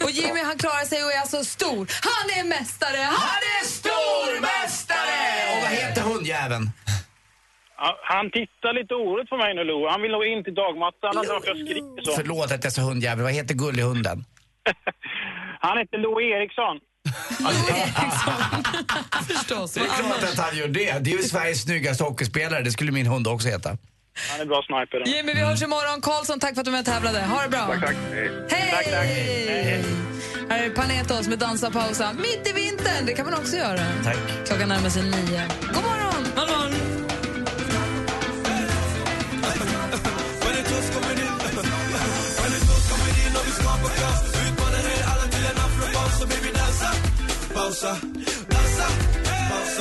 [SPEAKER 3] Och Jimmy han klarar sig och är alltså stor. Han är mästare! Han är stormästare!
[SPEAKER 5] Och vad heter hundjäveln?
[SPEAKER 8] Ja, Han tittar lite oroligt på mig nu, Lo. Han vill nog in till dagmattan. Han tror att jag skriker så.
[SPEAKER 5] Förlåt att jag sa hundjävel, vad heter gullhunden?
[SPEAKER 8] Han heter Lo Eriksson.
[SPEAKER 19] Alltså,
[SPEAKER 7] Förstås.
[SPEAKER 5] Det är klart att han gör det. Det är ju Sveriges snyggaste hockeyspelare, det skulle min hund också heta.
[SPEAKER 8] Han är bra sniper. den.
[SPEAKER 3] Jimmy, vi hörs imorgon. Karlsson, tack för att du var med och tävlade. Ha det bra. Hej!
[SPEAKER 8] Tack, tack.
[SPEAKER 3] Här är Panetos med Dansa pausa. Mitt i vintern, det kan man också göra.
[SPEAKER 5] Tack.
[SPEAKER 3] Klockan närmar sig nio. God morgon!
[SPEAKER 7] God morgon!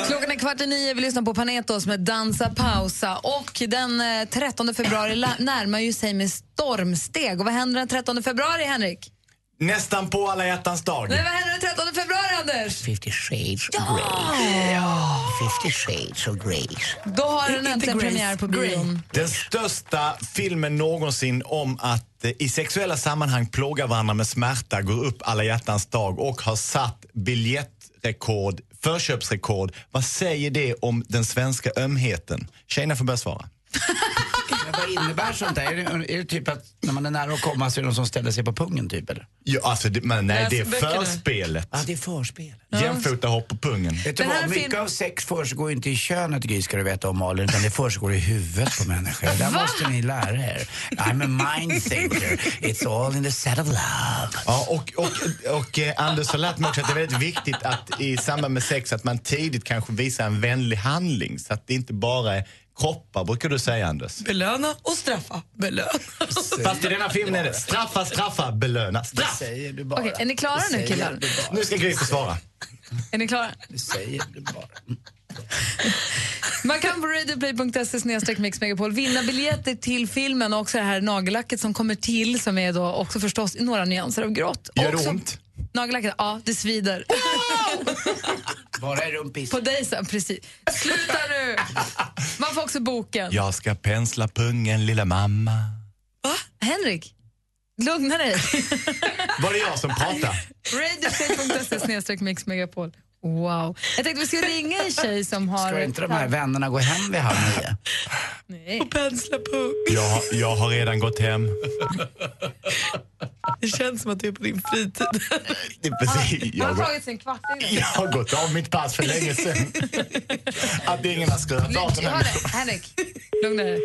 [SPEAKER 3] Klockan är kvart i nio, vi lyssnar på Panetos med Dansa pausa. Och den eh, 13 februari la- närmar ju sig med stormsteg. Och vad händer den 13 februari, Henrik?
[SPEAKER 6] Nästan på alla hjärtans dag.
[SPEAKER 3] Nej, vad händer den 13 februari, Anders?
[SPEAKER 5] 50 shades of grey. 50 shades of grey.
[SPEAKER 3] Då har den
[SPEAKER 5] Inte
[SPEAKER 3] äntligen
[SPEAKER 5] Grace,
[SPEAKER 3] premiär på
[SPEAKER 5] Grey.
[SPEAKER 3] bion.
[SPEAKER 6] Den största filmen någonsin om att eh, i sexuella sammanhang plåga varandra med smärta går upp alla hjärtans dag och har satt biljettrekord, förköpsrekord. Vad säger det om den svenska ömheten? Tjejerna får börja svara.
[SPEAKER 5] Men vad innebär sånt där? Är det, är det typ att när man är nära att komma så är det någon som ställer sig på pungen typ eller?
[SPEAKER 6] Ja, alltså, det, men, nej,
[SPEAKER 5] Läs
[SPEAKER 6] det är
[SPEAKER 5] böckerna.
[SPEAKER 6] förspelet.
[SPEAKER 5] Ja, det är förspelet.
[SPEAKER 6] Jämfotahopp på pungen.
[SPEAKER 5] Vet du
[SPEAKER 6] Den här
[SPEAKER 5] vad, mycket
[SPEAKER 6] film-
[SPEAKER 5] av sex försiggår ju inte i könet Gry ska du veta om Malin, utan det försiggår i huvudet på människor. Det där
[SPEAKER 6] Va?
[SPEAKER 5] måste ni lära er. I'm a mind thinker, it's all in the set of love.
[SPEAKER 6] Ja, och, och, och eh, Anders har lärt mig också att det är väldigt viktigt att i samband med sex att man tidigt kanske visar en vänlig handling så att det inte bara är kroppar, brukar du säga Anders?
[SPEAKER 7] Belöna och straffa. Belöna.
[SPEAKER 6] Fast i denna filmen är det straffa, straffa, belöna, straff!
[SPEAKER 5] säger du
[SPEAKER 3] Okej, är ni klara nu killar?
[SPEAKER 6] Nu ska Gry få svara.
[SPEAKER 3] Är ni klara?
[SPEAKER 5] Du säger det bara.
[SPEAKER 3] Man kan på radioplay.se mixmegapol vinna biljetter till filmen och också det här nagellacket som kommer till som är då också förstås några nyanser av grått.
[SPEAKER 6] Gör det
[SPEAKER 3] också,
[SPEAKER 6] ont?
[SPEAKER 3] Nagellacket, ja det svider.
[SPEAKER 5] Bara i rumpis.
[SPEAKER 3] (laughs) På dig sen, precis. Sluta nu! Man får också boken.
[SPEAKER 6] Jag ska pensla pungen lilla mamma.
[SPEAKER 3] Henrik, lugna dig.
[SPEAKER 6] Var det jag som pratade?
[SPEAKER 3] Radioplay.se snedstreck mixmegapol. Wow. Jag tänkte vi ska ringa en tjej som har...
[SPEAKER 5] Ska inte de här vännerna gå hem vid halv nio?
[SPEAKER 3] Nej.
[SPEAKER 7] Och pensla på.
[SPEAKER 6] Jag, jag har redan gått hem.
[SPEAKER 7] Det känns som att du är på din fritid.
[SPEAKER 6] Det är precis.
[SPEAKER 3] Man
[SPEAKER 6] Jag, har
[SPEAKER 3] har
[SPEAKER 6] gått-
[SPEAKER 3] tagit sin kvart innan.
[SPEAKER 6] jag har gått av mitt pass för länge sedan. Att ingen har skruvat av den
[SPEAKER 3] Hör
[SPEAKER 6] här.
[SPEAKER 3] det, Henrik, lugna dig.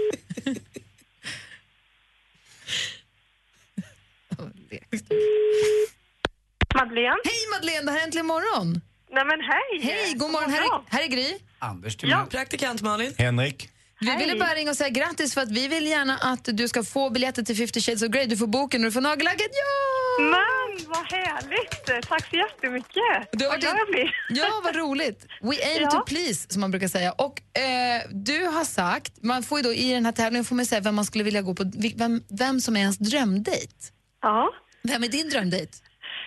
[SPEAKER 20] Madeleine?
[SPEAKER 3] Hej Madeleine, det här är Äntligen morgon.
[SPEAKER 20] Nej men hej!
[SPEAKER 3] Hej, god morgon. Här är, här är Gry.
[SPEAKER 5] Anders till
[SPEAKER 7] Ja. Praktikant Malin.
[SPEAKER 6] Henrik.
[SPEAKER 3] Vi ville bara ringa och säga grattis för att vi vill gärna att du ska få biljetter till 50 shades of Grey. Du får boken och du får nagellacket. Ja!
[SPEAKER 20] Men vad härligt! Tack så jättemycket!
[SPEAKER 3] Du har
[SPEAKER 20] vad glad
[SPEAKER 3] varit-
[SPEAKER 20] jag blir.
[SPEAKER 3] Ja, vad roligt. We aim
[SPEAKER 20] Ja.
[SPEAKER 3] to please, som man brukar säga. Och eh, du har sagt, man får ju då i den här tävlingen får man säga vem man skulle vilja gå på, vil- vem, vem som är ens drömdejt.
[SPEAKER 20] Ja,
[SPEAKER 3] Vem är din drömdejt?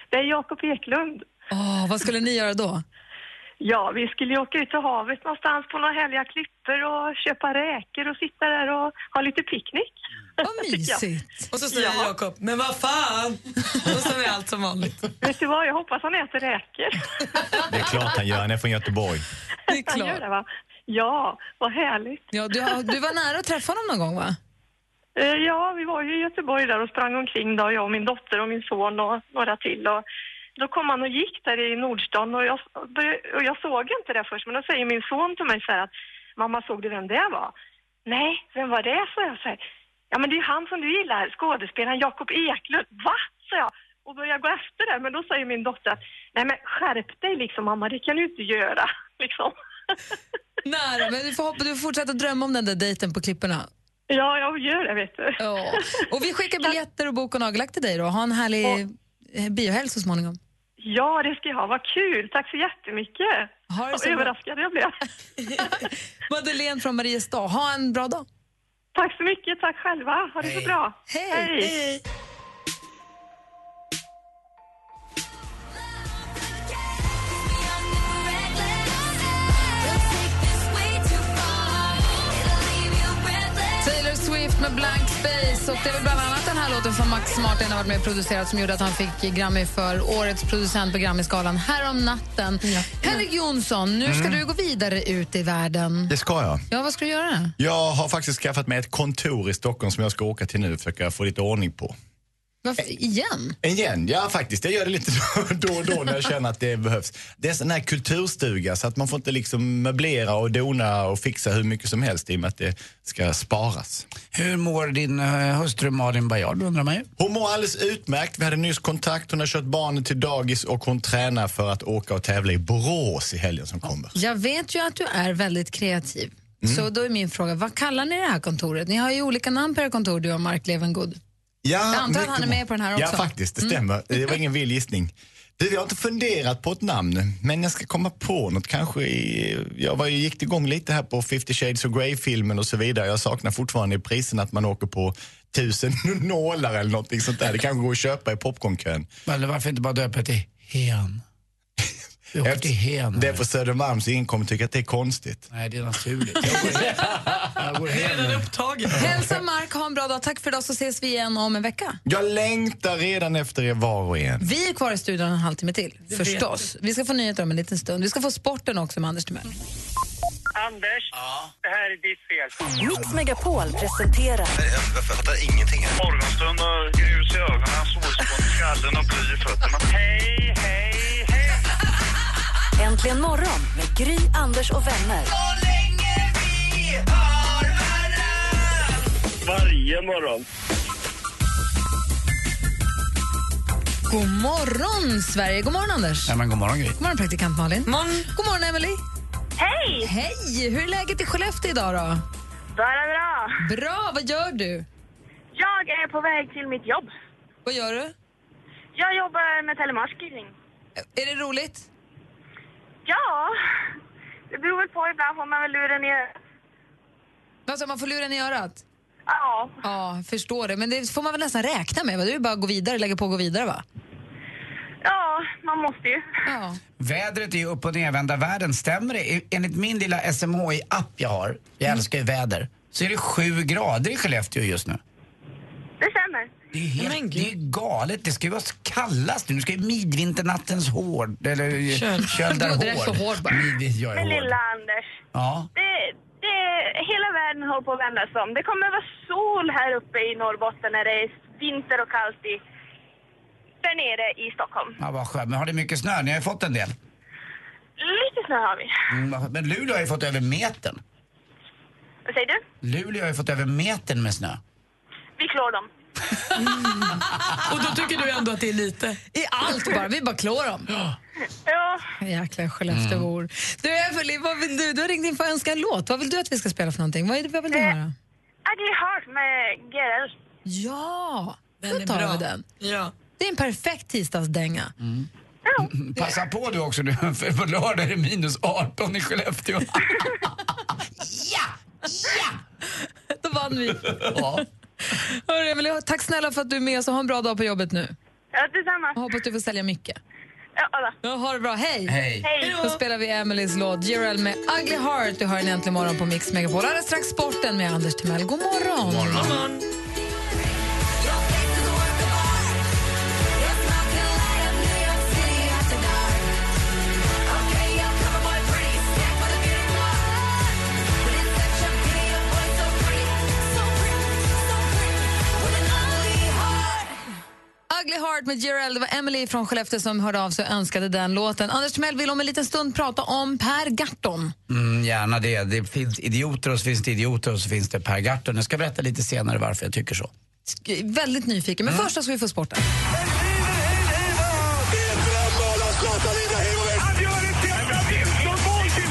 [SPEAKER 20] det är Jakob Eklund.
[SPEAKER 3] Åh, vad skulle ni göra då?
[SPEAKER 20] Ja, vi skulle ju åka ut till havet någonstans på några härliga klippor och köpa räkor och sitta där och ha lite picknick. (laughs)
[SPEAKER 3] Vad
[SPEAKER 20] Tycker jag.
[SPEAKER 7] Och så säger Jakob, men vad fan! Och sen är allt som vanligt.
[SPEAKER 20] Vet du vad, jag hoppas han äter räkor.
[SPEAKER 6] Det är klart han gör, han är från Göteborg.
[SPEAKER 3] Det är
[SPEAKER 20] Han gör
[SPEAKER 3] klart.
[SPEAKER 20] det, va? Ja, vad härligt.
[SPEAKER 3] Ja, du, har- du var nära att träffa honom någon gång, va?
[SPEAKER 20] Eh, Ja, vi var ju i Göteborg där och sprang omkring då, jag och min dotter och min son och några till. Och då kom han och gick där i Nordstan och jag, började- och jag såg inte det först, men då säger min son till mig så här att mamma, såg du vem det var? Nej, vem var det? sa jag så här. Ja, men det är ju han som du gillar, skådespelaren Jakob Eklund. Va? sa jag och började gå efter det, men då säger min dotter att nej men skärp dig liksom mamma, det kan du inte göra liksom.
[SPEAKER 3] Nära, men du får, hoppa, du får fortsätta drömma om den där dejten på klipporna.
[SPEAKER 20] Ja, jag gör det vet du.
[SPEAKER 3] Ja. Och vi skickar biljetter och bok och nagellack till dig då. Ha en härlig eh, biohelg så småningom.
[SPEAKER 20] Ja, det ska jag ha. Vad kul! Tack så jättemycket!
[SPEAKER 3] Ha det
[SPEAKER 20] Vad
[SPEAKER 3] så bra.
[SPEAKER 20] överraskad jag blev.
[SPEAKER 3] (laughs) Madeleine från Mariestad, ha en bra dag.
[SPEAKER 20] Tack så mycket. Tack själva. Ha det så bra.
[SPEAKER 3] Hej. Taylor Swift med Blank Space. Och det är väl bland annat den här låten från Max Martin har varit med och producerat som gjorde att han fick Grammy för årets producent på Grammyskalan härom natten. Henrik Jonsson, nu ska du gå vidare ut i världen.
[SPEAKER 6] Det ska jag.
[SPEAKER 3] Ja, vad ska du göra?
[SPEAKER 6] Jag har faktiskt skaffat mig ett kontor i Stockholm som jag ska åka till nu och försöka få lite ordning på.
[SPEAKER 3] Varför, igen?
[SPEAKER 6] Igen, ja faktiskt. Jag gör det lite (laughs) då och då när jag känner att det behövs. Det är en sån här kulturstuga så att man får inte liksom möblera och dona och fixa hur mycket som helst i och med att det ska sparas.
[SPEAKER 5] Hur mår din eh, hustru Malin Baryard undrar man ju.
[SPEAKER 6] Hon mår alldeles utmärkt. Vi hade nyss kontakt. Hon har kört barnen till dagis och hon tränar för att åka och tävla i Borås i helgen som kommer.
[SPEAKER 3] Jag vet ju att du är väldigt kreativ. Så då är min fråga, vad kallar ni det här kontoret? Ni har ju olika namn på era kontor, du och Mark Levengood.
[SPEAKER 6] Ja,
[SPEAKER 3] Jag antar att
[SPEAKER 6] mycket
[SPEAKER 3] han är
[SPEAKER 6] bra.
[SPEAKER 3] med på den här också. Mm.
[SPEAKER 6] Ja, faktiskt. Det stämmer. Det var ingen vild gissning. Du, jag har inte funderat på ett namn, men jag ska komma på något kanske. I, jag var, ju- gick igång lite här på 50 shades of Grey-filmen och så vidare. Jag saknar fortfarande i prisen att man åker på tusen (laughs) nålar eller någonting sånt där. Det kanske går att köpa i popcornkön.
[SPEAKER 3] Mm.
[SPEAKER 5] Eller varför inte bara döpa till Hen? Vi åker till Hen.
[SPEAKER 6] Det är på Södermalm så ingen kommer tycka att det är konstigt.
[SPEAKER 5] Nej, det är naturligt. (laughs) Jag går, jag går
[SPEAKER 7] Det är
[SPEAKER 5] hem
[SPEAKER 7] redan
[SPEAKER 5] nu.
[SPEAKER 7] upptaget.
[SPEAKER 3] Hälsa Mark, ha en bra dag. Tack för idag så ses vi igen om en vecka.
[SPEAKER 6] Jag längtar redan efter er var och en.
[SPEAKER 3] Vi är kvar i studion en halvtimme till, förstås. Vi ska få nyheter om en liten stund. Vi ska få sporten också med Anders Timell.
[SPEAKER 8] Anders, det här är ditt fel.
[SPEAKER 1] Mix Megapol presenterar
[SPEAKER 19] Jag fattar ingenting.
[SPEAKER 8] Morgonstund och grus i ögonen, solspån i skallen och bly i fötterna. Hej, hej, hej!
[SPEAKER 1] Äntligen morgon med Gry, Anders och vänner.
[SPEAKER 8] Varje morgon.
[SPEAKER 3] God morgon, Sverige. God morgon, Anders.
[SPEAKER 5] Nej, men god morgon Gry.
[SPEAKER 3] God morgon, praktikant Malin.
[SPEAKER 7] Morgon.
[SPEAKER 3] God morgon, Emily.
[SPEAKER 20] Hej!
[SPEAKER 3] Hej! Hur är läget i Skellefteå idag då?
[SPEAKER 20] Bara bra.
[SPEAKER 3] Bra, vad gör du?
[SPEAKER 20] Jag är på väg till mitt jobb.
[SPEAKER 3] Vad gör du? Eh,
[SPEAKER 20] Jag jobbar med telemarketing.
[SPEAKER 3] Är det roligt?
[SPEAKER 20] Ja, det beror väl på. Ibland får man väl luren i örat.
[SPEAKER 3] Alltså, man får luren i örat?
[SPEAKER 11] Ja.
[SPEAKER 3] Ja, förstår det. Men det får man väl nästan räkna med? Va? Det är ju bara att gå vidare, lägga på och gå vidare va?
[SPEAKER 11] Ja, man måste ju.
[SPEAKER 3] Ja.
[SPEAKER 5] Vädret är ju upp och nervända världen, stämmer det? E- Enligt min lilla SMHI-app jag har, jag älskar ju väder, så är det sju grader i Skellefteå just nu.
[SPEAKER 11] Det stämmer.
[SPEAKER 5] Det är, helt, det är ju galet, det ska ju vara kallast nu. Nu ska ju midvinternattens hård, eller
[SPEAKER 11] Köld.
[SPEAKER 5] köldar
[SPEAKER 11] Du är så hård bara.
[SPEAKER 5] Mid, jag är
[SPEAKER 11] Men lilla
[SPEAKER 5] hård.
[SPEAKER 11] Anders,
[SPEAKER 5] Ja.
[SPEAKER 11] det, det, hela världen håller på att vändas om. Det kommer vara sol här uppe i Norrbotten när det är vinter och kallt i, där nere i Stockholm.
[SPEAKER 5] Ja, vad skönt. Men har det mycket snö? Ni har ju fått en del.
[SPEAKER 11] Lite snö har vi.
[SPEAKER 5] Mm, vad skönt. men Luleå har ju fått över metern.
[SPEAKER 11] Vad säger du?
[SPEAKER 5] Luleå har ju fått över metern med snö.
[SPEAKER 11] Vi klår dem.
[SPEAKER 7] (laughs) Och då tycker du ändå att det är lite?
[SPEAKER 3] I allt bara, vi bara klår dem.
[SPEAKER 11] Ja.
[SPEAKER 3] Jäkla Skellefteåbor.
[SPEAKER 5] Mm.
[SPEAKER 3] Du, Evelie, vad vill du? Du har ringt in för att önska en låt. Vad vill du att vi ska spela för någonting? Vad, är det, vad vill
[SPEAKER 20] Eh,
[SPEAKER 3] du höra?
[SPEAKER 11] Ugly Heart med Gerald.
[SPEAKER 3] Ja,
[SPEAKER 11] Den
[SPEAKER 3] då
[SPEAKER 11] är
[SPEAKER 3] tar
[SPEAKER 11] bra.
[SPEAKER 3] vi den.
[SPEAKER 7] Ja.
[SPEAKER 3] Det är en perfekt tisdagsdänga.
[SPEAKER 5] Mm. (laughs) Passa på du också nu, (laughs) för på lördag är det minus 18 i (laughs) Skellefteå.
[SPEAKER 3] Då vann vi.
[SPEAKER 5] Ja.
[SPEAKER 3] Hörru, Emelie, tack snälla för att du är med oss och ha en bra dag på jobbet nu.
[SPEAKER 11] Ja, detsamma.
[SPEAKER 3] Hoppas du får sälja mycket.
[SPEAKER 11] Ja,
[SPEAKER 3] då. Ha det bra, hej!
[SPEAKER 5] Hej.
[SPEAKER 11] Hej.
[SPEAKER 3] Då spelar vi Emelies låt Gerald med Ugly Heart. Du hör den äntligen morgon på Mix Megapol. Alldeles strax sporten med Anders Timell. God morgon! God
[SPEAKER 7] morgon.
[SPEAKER 3] Ugly Heart med Gerald. Det var Emily från Skellefteå som hörde av sig och önskade den låten. Anders Timell vill om en liten stund prata om Per Gahrton.
[SPEAKER 5] Mm, gärna det. Det finns idioter och så finns det idioter och så finns det Per Gahrton. Jag ska berätta lite senare varför jag tycker så.
[SPEAKER 3] Sk- Väldigt nyfiken, men först så ska vi få sporten.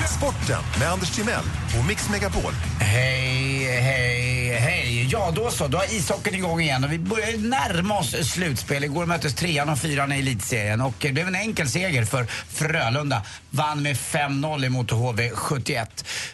[SPEAKER 21] Sporten med Anders Timell och Mix Megapol.
[SPEAKER 5] Hej, hej, hej. Ja, då så. Då har ishockeyn igång igen och vi börjar ju närma oss slutspel. Igår möttes trean och fyran i elitserien och det blev en enkel seger för Frölunda. Vann med 5-0 emot HV71.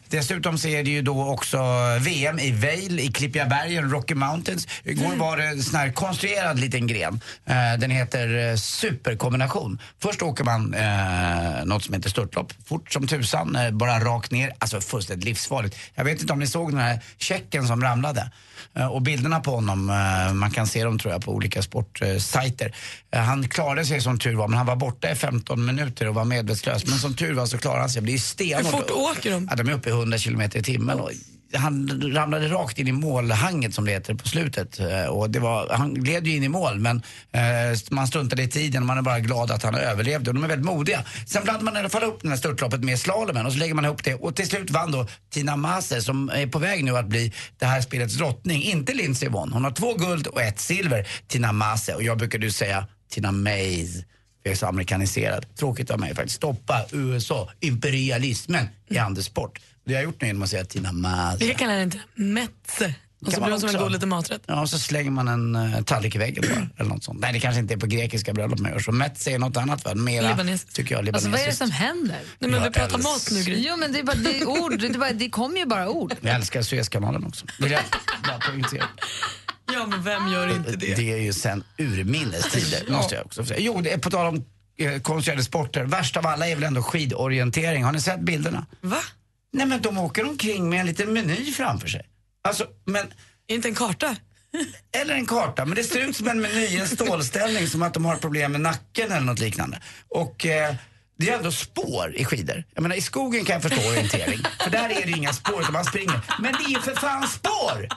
[SPEAKER 5] Dessutom så är det ju då också VM i Vail, i Klippiabergen, Rocky Mountains. Igår var det en sån här konstruerad liten gren. Eh, Den heter eh, superkombination. Först åker man eh, något som heter störtlopp, fort som tusan, eh, bara rakt ner. Alltså fullständigt livsfarligt. Jag vet inte om ni såg den här checken som ramlade. Eh, och bilderna på honom, eh, man kan se dem tror jag på olika sportsajter. Eh, han klarade sig som tur var, men han var borta i 15 minuter och var medvetslös. Men som tur var så klarade han sig. Det är ju stenhårt.
[SPEAKER 7] Hur
[SPEAKER 3] Alltså.
[SPEAKER 7] fort åker de?
[SPEAKER 5] Ja, de är uppe i 100 kilometer i timmen. Och han ramlade rakt in i målhanget som det heter på slutet. Eh, Och det var, han gled ju in i mål men eh, man struntade i tiden och man är bara glad att han överlevde. Och de är väldigt modiga. Sen blandar man i alla fall upp det här störtloppet med slalomen och så lägger man ihop det. Och till slut vann då Tina Maser som är på väg nu att bli det här spelets drottning. Inte Lindsey Vonn. Hon har två guld och ett silver, Tina Maser. Och jag brukade ju säga Tina Mays. Jag är så amerikaniserad. Tråkigt av mig faktiskt. Stoppa USA, imperialismen
[SPEAKER 3] Mm.
[SPEAKER 5] i handelsport. Det har jag gjort nu genom att säga Tina Maser.
[SPEAKER 7] Det kallar det inte metze.
[SPEAKER 3] alltså,
[SPEAKER 7] Och så
[SPEAKER 5] Kan man
[SPEAKER 7] blir det som en
[SPEAKER 5] också.
[SPEAKER 7] god liten maträtt.
[SPEAKER 5] Ja, och så slänger man en eh, tallrik i väggen bara, eller något sånt. Nej, det kanske inte är på grekiska bröllop man gör så. Metz är något annat va? Mera,
[SPEAKER 7] Libanes.
[SPEAKER 5] tycker jag,
[SPEAKER 3] Alltså,
[SPEAKER 5] libanesiskt.
[SPEAKER 3] vad är det som händer?
[SPEAKER 5] Nej, men vi Jag pratar älskar- mat nu, Gry.
[SPEAKER 3] Jo, men det, är bara, det, är ord, det, är bara, det kommer ju bara ord.
[SPEAKER 5] Jag älskar Suezkanalen också. Vill jag bara poängtera.
[SPEAKER 7] (laughs) Ja, men vem gör inte det?
[SPEAKER 5] Det är ju sen urminnes tider, måste jag också säga. Jo, det är på tal om eh, konstruerade sporter. Värst av alla är väl ändå skidorientering. Har ni sett bilderna?
[SPEAKER 7] Va?
[SPEAKER 5] Nej, men de åker omkring med en liten meny framför sig. Alltså, men...
[SPEAKER 7] Inte en karta?
[SPEAKER 5] (laughs) Eller en karta, men det ser ut som en meny, i en stålställning, som att de har problem med nacken eller något liknande. Och eh, det är ändå spår i skidor. Jag menar, i skogen kan jag förstå orientering, för där är det ju inga spår utan man springer. Men det är ju för fan spår!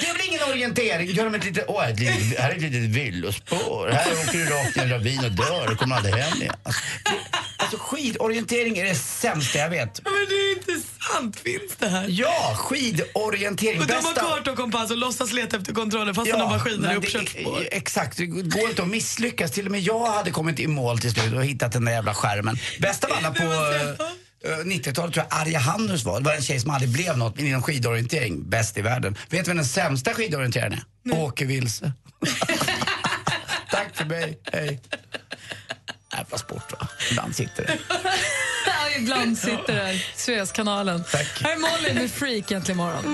[SPEAKER 5] Det är väl ingen orientering? Gör de ett litet, åh, ett litet, här är ett litet villospår, här åker du rakt ner i en ravin och dör och kommer aldrig hem igen. Alltså, det, alltså skidorientering är det sämsta jag vet.
[SPEAKER 7] Men det är inte sant, finns det här?
[SPEAKER 5] Ja, skidorientering.
[SPEAKER 7] Och de har
[SPEAKER 5] Bästa-
[SPEAKER 7] karta och kompass och låtsas leta efter kontroller fast de bara skidor
[SPEAKER 5] men
[SPEAKER 7] i
[SPEAKER 5] det-
[SPEAKER 7] uppköpsspår.
[SPEAKER 5] Exakt, det går inte att misslyckas. Till och med jag hade kommit i mål till slut och hittat den där jävla skärmen. Bäst av alla på eh, eh, 90-talet tror jag Arja Hannus var. Det var en tjej som aldrig blev något inom skidorientering. Bäst i världen. Vet du vem den sämsta skidorienteraren är? Åke (laughs) Vilse. Tack för mig, hej. Jävla sport va? Ibland sitter det.
[SPEAKER 3] Ja, ibland (laughs) sitter där. Suezkanalen.
[SPEAKER 5] Tack.
[SPEAKER 3] Här är Molly med Freak egentligen imorgon.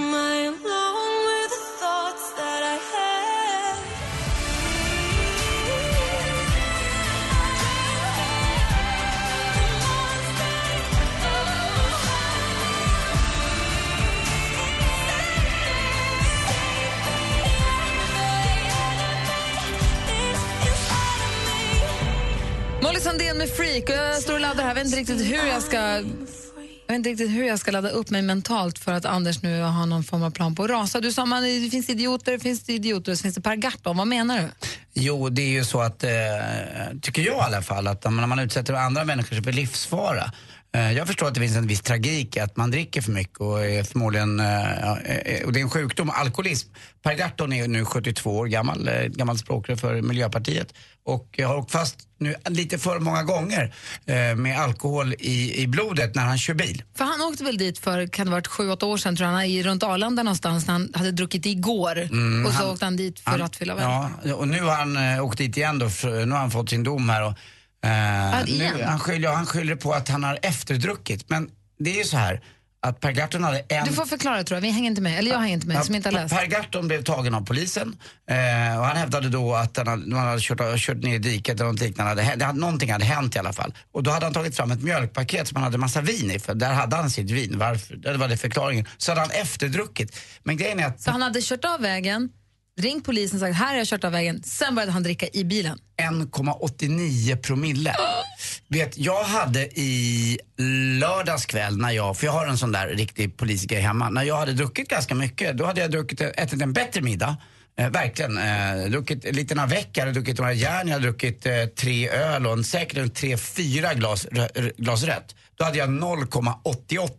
[SPEAKER 3] Molly Sandén med Freak. Och jag står och laddar här. Jag vet inte riktigt hur jag ska... Jag vet inte riktigt hur jag ska ladda upp mig mentalt för att Anders nu har någon form av plan på att rasa. Du sa man, det finns idioter, det finns idioter och så finns det Per Gahrton. Vad menar du?
[SPEAKER 5] Jo, det är ju så att, eh, tycker jag i alla fall, att när man utsätter andra människor för livsfara eh, jag förstår att det finns en viss tragik i att man dricker för mycket och är förmodligen, eh, ja, eh, och det är en sjukdom, alkoholism. Per Gahrton är ju nu 72 år gammal, eh, gammal språkrör för Miljöpartiet och har åkt fast nu lite för många gånger eh, med alkohol i, i blodet när han kör bil.
[SPEAKER 3] För han åkte väl dit för, kan det ha varit sju, åtta år sedan tror jag, han, i, runt Arlanda någonstans när han hade druckit igår.
[SPEAKER 5] Mm,
[SPEAKER 3] och så
[SPEAKER 5] han-
[SPEAKER 3] åkte han dit för rattfylla. väl?
[SPEAKER 5] Ja, och nu har han eh, åkt dit igen då, för, nu har han fått sin dom här. Och, eh,
[SPEAKER 3] Ah, igen?
[SPEAKER 5] nu, han, skyller, ja, han skyller på att han har efterdruckit. Men det är ju så här att Per Gahrton hade en...
[SPEAKER 3] Du får förklara tror jag, vi hänger inte med. Eller jag hänger inte med,
[SPEAKER 5] Ja,
[SPEAKER 3] som inte har
[SPEAKER 5] Per-
[SPEAKER 3] läst.
[SPEAKER 5] Per Gahrton blev tagen av polisen eh, och han hävdade då att han hade, man hade kört, kört ner i diket eller något liknande. Hade, hänt- det hade, någonting hade hänt i alla fall. Och då hade han tagit fram ett mjölkpaket som han hade massa vin i, för där hade han sitt vin. Varför? Det var det förklaringen. Så hade han efterdruckit. Men grejen är att
[SPEAKER 3] Så han hade kört av vägen, ringt polisen och sagt här har jag kört av vägen. Sen började han dricka i bilen.
[SPEAKER 5] 1,89 promille. Vet, jag hade i lördags kväll när jag, för jag har en sån där riktig politiker hemma, när jag hade druckit ganska mycket, då hade jag druckit, ätit en bättre middag. Eh, verkligen. Eh, druckit en liten avec, jag hade druckit några järn, jag hade druckit eh, tre öl och en, säkert en tre, fyra glas, rö, rö- glas rött. Då hade jag 0,88.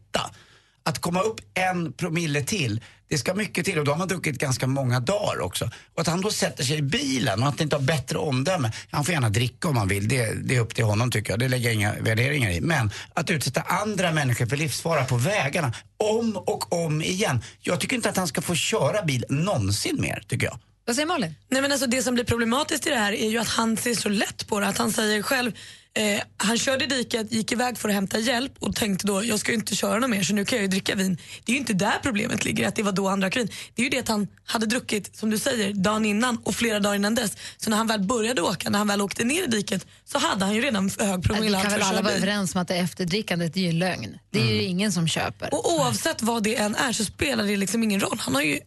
[SPEAKER 5] Att komma upp en promille till, det ska mycket till och då har man druckit ganska många dagar också. Och att han då sätter sig i bilen och att det inte har bättre omdöme. Han får gärna dricka om han vill, det, det är upp till honom tycker jag. Det lägger jag inga värderingar i. Men att utsätta andra människor för livsfara på vägarna, om och om igen. Jag tycker inte att han ska få köra bil någonsin mer, tycker jag.
[SPEAKER 3] Vad säger Malin?
[SPEAKER 7] Nej, men alltså, det som blir problematiskt i det här är ju att han ser så lätt på det. Att han säger själv, eh, han körde i diket, gick iväg för att hämta hjälp och tänkte då, jag ska ju inte köra något mer så nu kan jag ju dricka vin. Det är ju inte där problemet ligger, att det var då han drack vin. Det är ju det att han hade druckit, som du säger, dagen innan och flera dagar innan dess. Så när han väl började åka, när han väl åkte ner i diket, så hade han ju redan för hög
[SPEAKER 3] Vi
[SPEAKER 7] promille för
[SPEAKER 3] kan väl
[SPEAKER 7] att
[SPEAKER 3] alla
[SPEAKER 7] köra
[SPEAKER 3] vara
[SPEAKER 7] bil.
[SPEAKER 3] överens om att det efterdrickandet det är ju en lögn. Det är ju
[SPEAKER 5] Mm.
[SPEAKER 3] ingen som köper.
[SPEAKER 7] Och oavsett vad det än är så spelar det liksom ingen roll. Han har ju,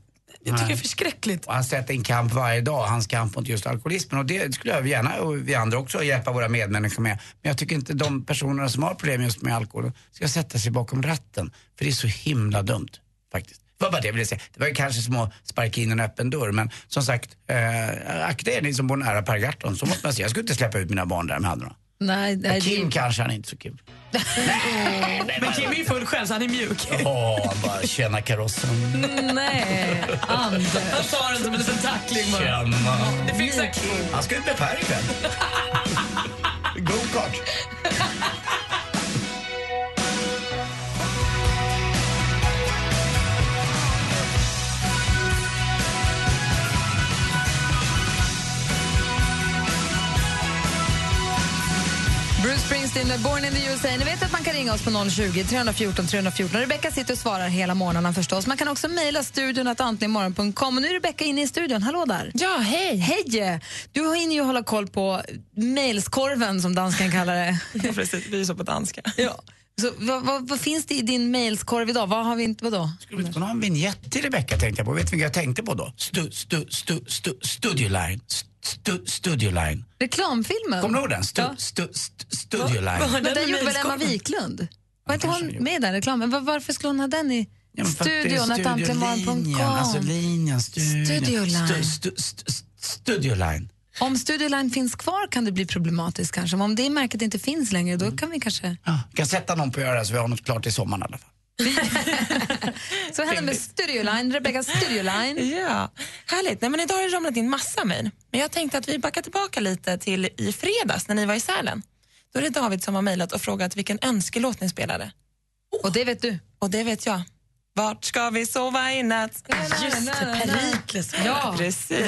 [SPEAKER 7] jag tycker det är förskräckligt.
[SPEAKER 5] Och han sätter en kamp varje dag, hans kamp mot just alkoholismen. Och det skulle jag gärna, och vi andra också, hjälpa våra medmänniskor med. Men jag tycker inte de personerna som har problem just med alkohol ska sätta sig bakom ratten. För det är så himla dumt, faktiskt. Det var bara det jag ville säga. Det var ju kanske som att sparka in en öppen dörr. Men som sagt, eh, akta er ni som bor nära Per Gahrton. Så måste man säga. Jag skulle inte släppa ut mina barn där med handen.
[SPEAKER 3] Nej, nej, det är
[SPEAKER 5] Kim
[SPEAKER 3] ju-
[SPEAKER 5] kanske, han är inte så kul.
[SPEAKER 7] Men Kim är ju full själv så han är mjuk.
[SPEAKER 5] Åh, han bara, tjena karossen.
[SPEAKER 3] Nej, Anders.
[SPEAKER 7] Han tar den som en liten tackling bara.
[SPEAKER 5] Tjena.
[SPEAKER 7] Det finns en klipp.
[SPEAKER 5] Han ska ut med Per ikväll. Go-kart.
[SPEAKER 3] Bruce Springsteen med Born in the USA. Ni vet att man kan ringa oss på 020-314 314. Rebecka sitter och svarar hela morgonen förstås. Man kan också mejla studion att antligenmorgon.com. Och nu är Rebecka inne i studion. Hallå där! Ja, hej! Hej! Du har ju hålla koll på mejlskorven som dansken kallar det.
[SPEAKER 7] Precis, vi är så på danska.
[SPEAKER 3] ja. Så, vad, vad, vad finns det i din mejlskorv idag? Vad har vi inte, vadå?
[SPEAKER 5] Skulle vi inte kunna ha en vignett till Rebecca tänkte jag på. Vet du vad jag tänkte på då? Stu, stu, stu, stu, studio line. Stu, studio line.
[SPEAKER 3] Reklamfilmen?
[SPEAKER 5] Kommer du ihåg den? Stu, stu, stu, studio line.
[SPEAKER 3] Men den gjorde väl Emma Wiklund? Var inte hon med i den reklamen? Var, varför skulle hon ha den i
[SPEAKER 5] Ja, men för att det är
[SPEAKER 3] studion? Att antligenmorgon.com?
[SPEAKER 5] studiolinjen, Alltså linjen, studion.
[SPEAKER 3] Studio line.
[SPEAKER 5] Stu, stu, stu, stu, studio line.
[SPEAKER 3] Om Studio Line finns kvar kan det bli problematiskt kanske. Men om det märket inte finns längre, då
[SPEAKER 7] Mm.
[SPEAKER 3] kan vi kanske...
[SPEAKER 5] Vi kan sätta någon på att göra det här så vi har något klart i sommaren i alla fall.
[SPEAKER 3] Så vad händer med Studio Line? Rebecca Studio Line?
[SPEAKER 22] (laughs) Ja, härligt. Nej, men idag har det ramlat in massa mejl. Men jag tänkte att vi backar tillbaka lite till i fredags när ni var i Sälen. Då är det David som har mejlat och frågat vilken önskelåt ni spelade.
[SPEAKER 3] Oh. Och det vet du?
[SPEAKER 22] Och det vet jag. Vart ska vi sova i natt?
[SPEAKER 3] Just det,
[SPEAKER 7] Perikles.
[SPEAKER 22] Ja,
[SPEAKER 7] Det var ju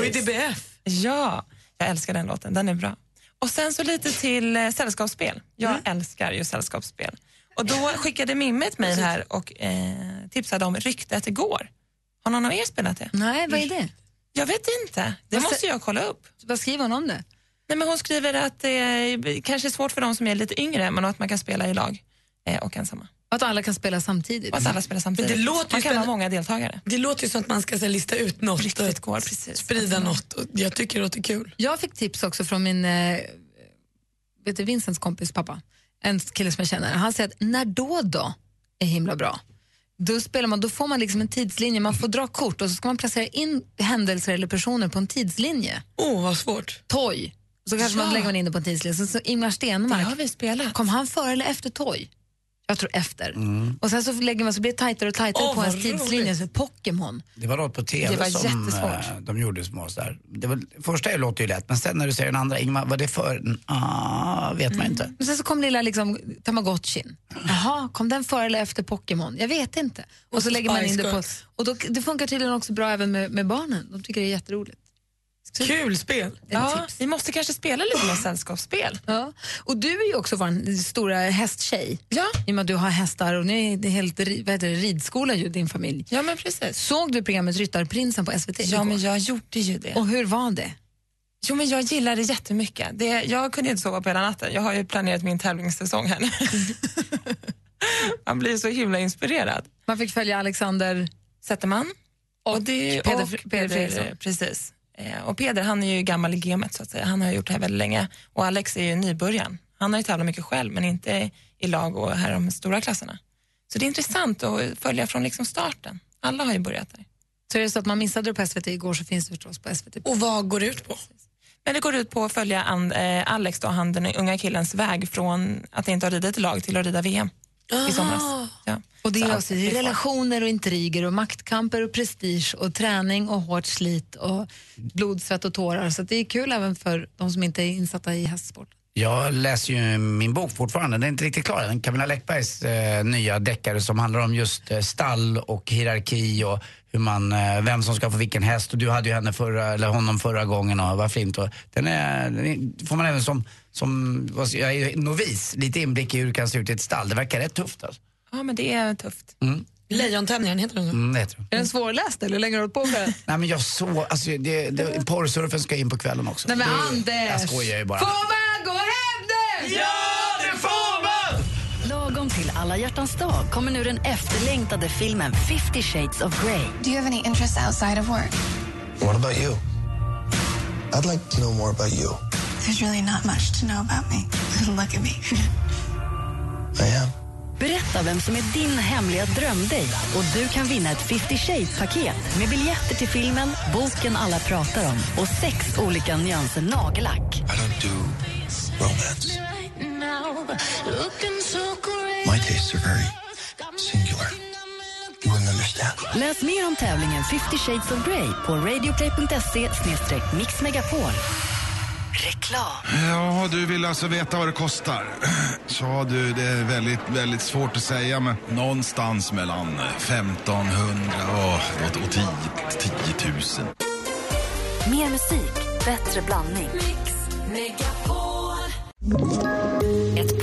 [SPEAKER 22] precis.
[SPEAKER 7] DBF.
[SPEAKER 22] Ja, jag älskar den
[SPEAKER 3] Mm.
[SPEAKER 22] låten. Den är bra. Och sen så lite till eh, sällskapsspel. Jag älskar ju sällskapsspel. Och då skickade Mimmi ett mejl här och eh, tipsade om Ryktet igår. Har någon av er spelat det?
[SPEAKER 3] Nej, vad är det?
[SPEAKER 22] Jag vet inte. Det
[SPEAKER 3] Vad sä-
[SPEAKER 22] måste jag kolla upp.
[SPEAKER 3] Vad skriver hon om det?
[SPEAKER 22] Nej, men hon skriver att det är, kanske är svårt för de som är lite yngre men att man kan spela i lag eh, och ensamma.
[SPEAKER 3] Och att alla kan spela samtidigt.
[SPEAKER 22] Och att alla spelar samtidigt.
[SPEAKER 7] Men det låter ju
[SPEAKER 22] man kan
[SPEAKER 7] spänn-
[SPEAKER 22] vara många deltagare.
[SPEAKER 7] Det låter ju som att man ska så här, lista ut något och sprida något. Och jag tycker det låter kul.
[SPEAKER 3] Jag fick tips också från min, eh, vet du, Vincents kompis pappa, en kille som jag känner. Han säger att när då då är himla bra. Då, spelar man, då får man liksom en tidslinje, man får dra kort och så ska man placera in händelser eller personer på en tidslinje.
[SPEAKER 7] Åh, oh, vad svårt.
[SPEAKER 3] Toj. Så kanske man
[SPEAKER 7] Ja.
[SPEAKER 3] lägger man in det på en tidslinje. Så, så Ingmar Stenmark, har vi spelat. kom han före eller efter Toj? Jag tror efter.
[SPEAKER 5] Mm.
[SPEAKER 3] Och sen så lägger man så blir det tajtare och tajtare
[SPEAKER 7] Åh,
[SPEAKER 3] på
[SPEAKER 7] vad
[SPEAKER 3] ens tidslinje. Så Pokémon.
[SPEAKER 5] Det var något på TV
[SPEAKER 3] Det var
[SPEAKER 5] som
[SPEAKER 3] jättesvårt.
[SPEAKER 5] eh, de gjorde små sådär. Det var, första låter ju lätt, men sen när du säger den andra, Ingmar, vad är det för? en? Ah, vet man inte.
[SPEAKER 3] Men sen så kom lilla liksom, Tamagotchin. Jaha, kom den före eller efter Pokémon? Jag vet inte. Och så
[SPEAKER 7] Och
[SPEAKER 3] lägger man in
[SPEAKER 7] Spice
[SPEAKER 3] det på...
[SPEAKER 7] Girls.
[SPEAKER 3] Och då, det funkar tydligen också bra även med, med barnen. De tycker det är jätteroligt.
[SPEAKER 7] Kul spel.
[SPEAKER 22] Ja, vi måste kanske spela lite med sällskapsspel.
[SPEAKER 3] Ja. Och du är ju också vår stora hästtjej. Ja. I och med att du har hästar och ni är det helt ri- vad heter det, ridskola ju, din familj.
[SPEAKER 22] Ja, men precis.
[SPEAKER 3] Såg du programmet Ryttarprinsen på SVT
[SPEAKER 22] Ja, men jag gjorde ju det.
[SPEAKER 3] Och hur var det?
[SPEAKER 22] Jo, men jag gillar det jättemycket. Det, jag kunde inte sova på hela natten. Jag har ju planerat min tävlingssäsong här nu.
[SPEAKER 3] (laughs)
[SPEAKER 22] Man blir så himla inspirerad.
[SPEAKER 3] Man fick följa Alexander
[SPEAKER 22] Zetterman och, det,
[SPEAKER 3] Peder-
[SPEAKER 22] Eh, och
[SPEAKER 3] Peder Fredriksson.
[SPEAKER 22] Precis. Eh, Och Peder han är ju gammal i gamet så att säga. Han har gjort det här väldigt länge. Och Alex är ju nybörjan. Han har ju tävlat mycket själv men inte i lag och här de stora klasserna. Så det är intressant att följa från liksom starten. Alla har ju börjat där.
[SPEAKER 3] Så är det så att man missade det på SVT igår så finns det förstås på SVT.
[SPEAKER 7] Och vad går det ut på?
[SPEAKER 22] Men det går ut på att följa and, eh, Alex, då, han, den unga killens väg från att inte ha ridit i lag till att rida VM i somras. Ja.
[SPEAKER 3] Ah! Och det
[SPEAKER 22] Ah.
[SPEAKER 3] är
[SPEAKER 22] Så allt
[SPEAKER 3] alltså
[SPEAKER 22] är kvar.
[SPEAKER 3] relationer och intriger och maktkamper och prestige och träning och hårt slit och blod, svett och tårar. Så att det är kul även för de som inte är insatta i hästsport.
[SPEAKER 5] Jag läser ju min bok fortfarande, den är inte riktigt klar än. Camilla Läckbergs eh, nya deckare som handlar om just eh, stall och hierarki och hur man, eh, vem som ska få vilken häst. Och du hade ju henne förra, eller honom förra gången och varför inte. Och Den, är, den är, får man även som, som vad ska- jag är ju novis, lite inblick i hur det kan se ut i ett stall. Det verkar rätt tufft alltså.
[SPEAKER 22] Ja, men det är tufft.
[SPEAKER 5] Mm.
[SPEAKER 7] Lejontämjaren heter den så?
[SPEAKER 5] Mm, det heter det.
[SPEAKER 3] Är den svårläst eller hur länge har du hållit på med den?
[SPEAKER 5] Nej men jag såg, alltså det, det, porrsurfen ska in på kvällen också.
[SPEAKER 3] Nej men
[SPEAKER 5] Det-
[SPEAKER 3] Anders!
[SPEAKER 5] Jag skojar ju bara.
[SPEAKER 3] Får man gå hem nu?
[SPEAKER 1] det får man! Lagom till alla hjärtans dag kommer nu den efterlängtade filmen 50 shades of Grey.
[SPEAKER 13] Do you have any interests outside of work?
[SPEAKER 14] What about you? I'd like to know more about you.
[SPEAKER 13] There's really not much to know about me. (laughs) Look at me. (laughs)
[SPEAKER 14] I am.
[SPEAKER 1] Berätta vem som är din hemliga drömdejt och du kan vinna ett 50 Shades-paket med biljetter till filmen, boken alla pratar om och sex olika nyanser nagellack.
[SPEAKER 14] I don't do romance. My tastes are very singular. You wouldn't understand.
[SPEAKER 1] Läs mer om tävlingen 50 Shades of Grey på radioplay.se mixmegapol. Reklam.
[SPEAKER 23] Ja, du vill alltså veta vad det kostar? Ja, du, det är väldigt, väldigt svårt att säga, men någonstans mellan 1500 och, och 10, 10 000.
[SPEAKER 1] Mer musik, bättre blandning. Ett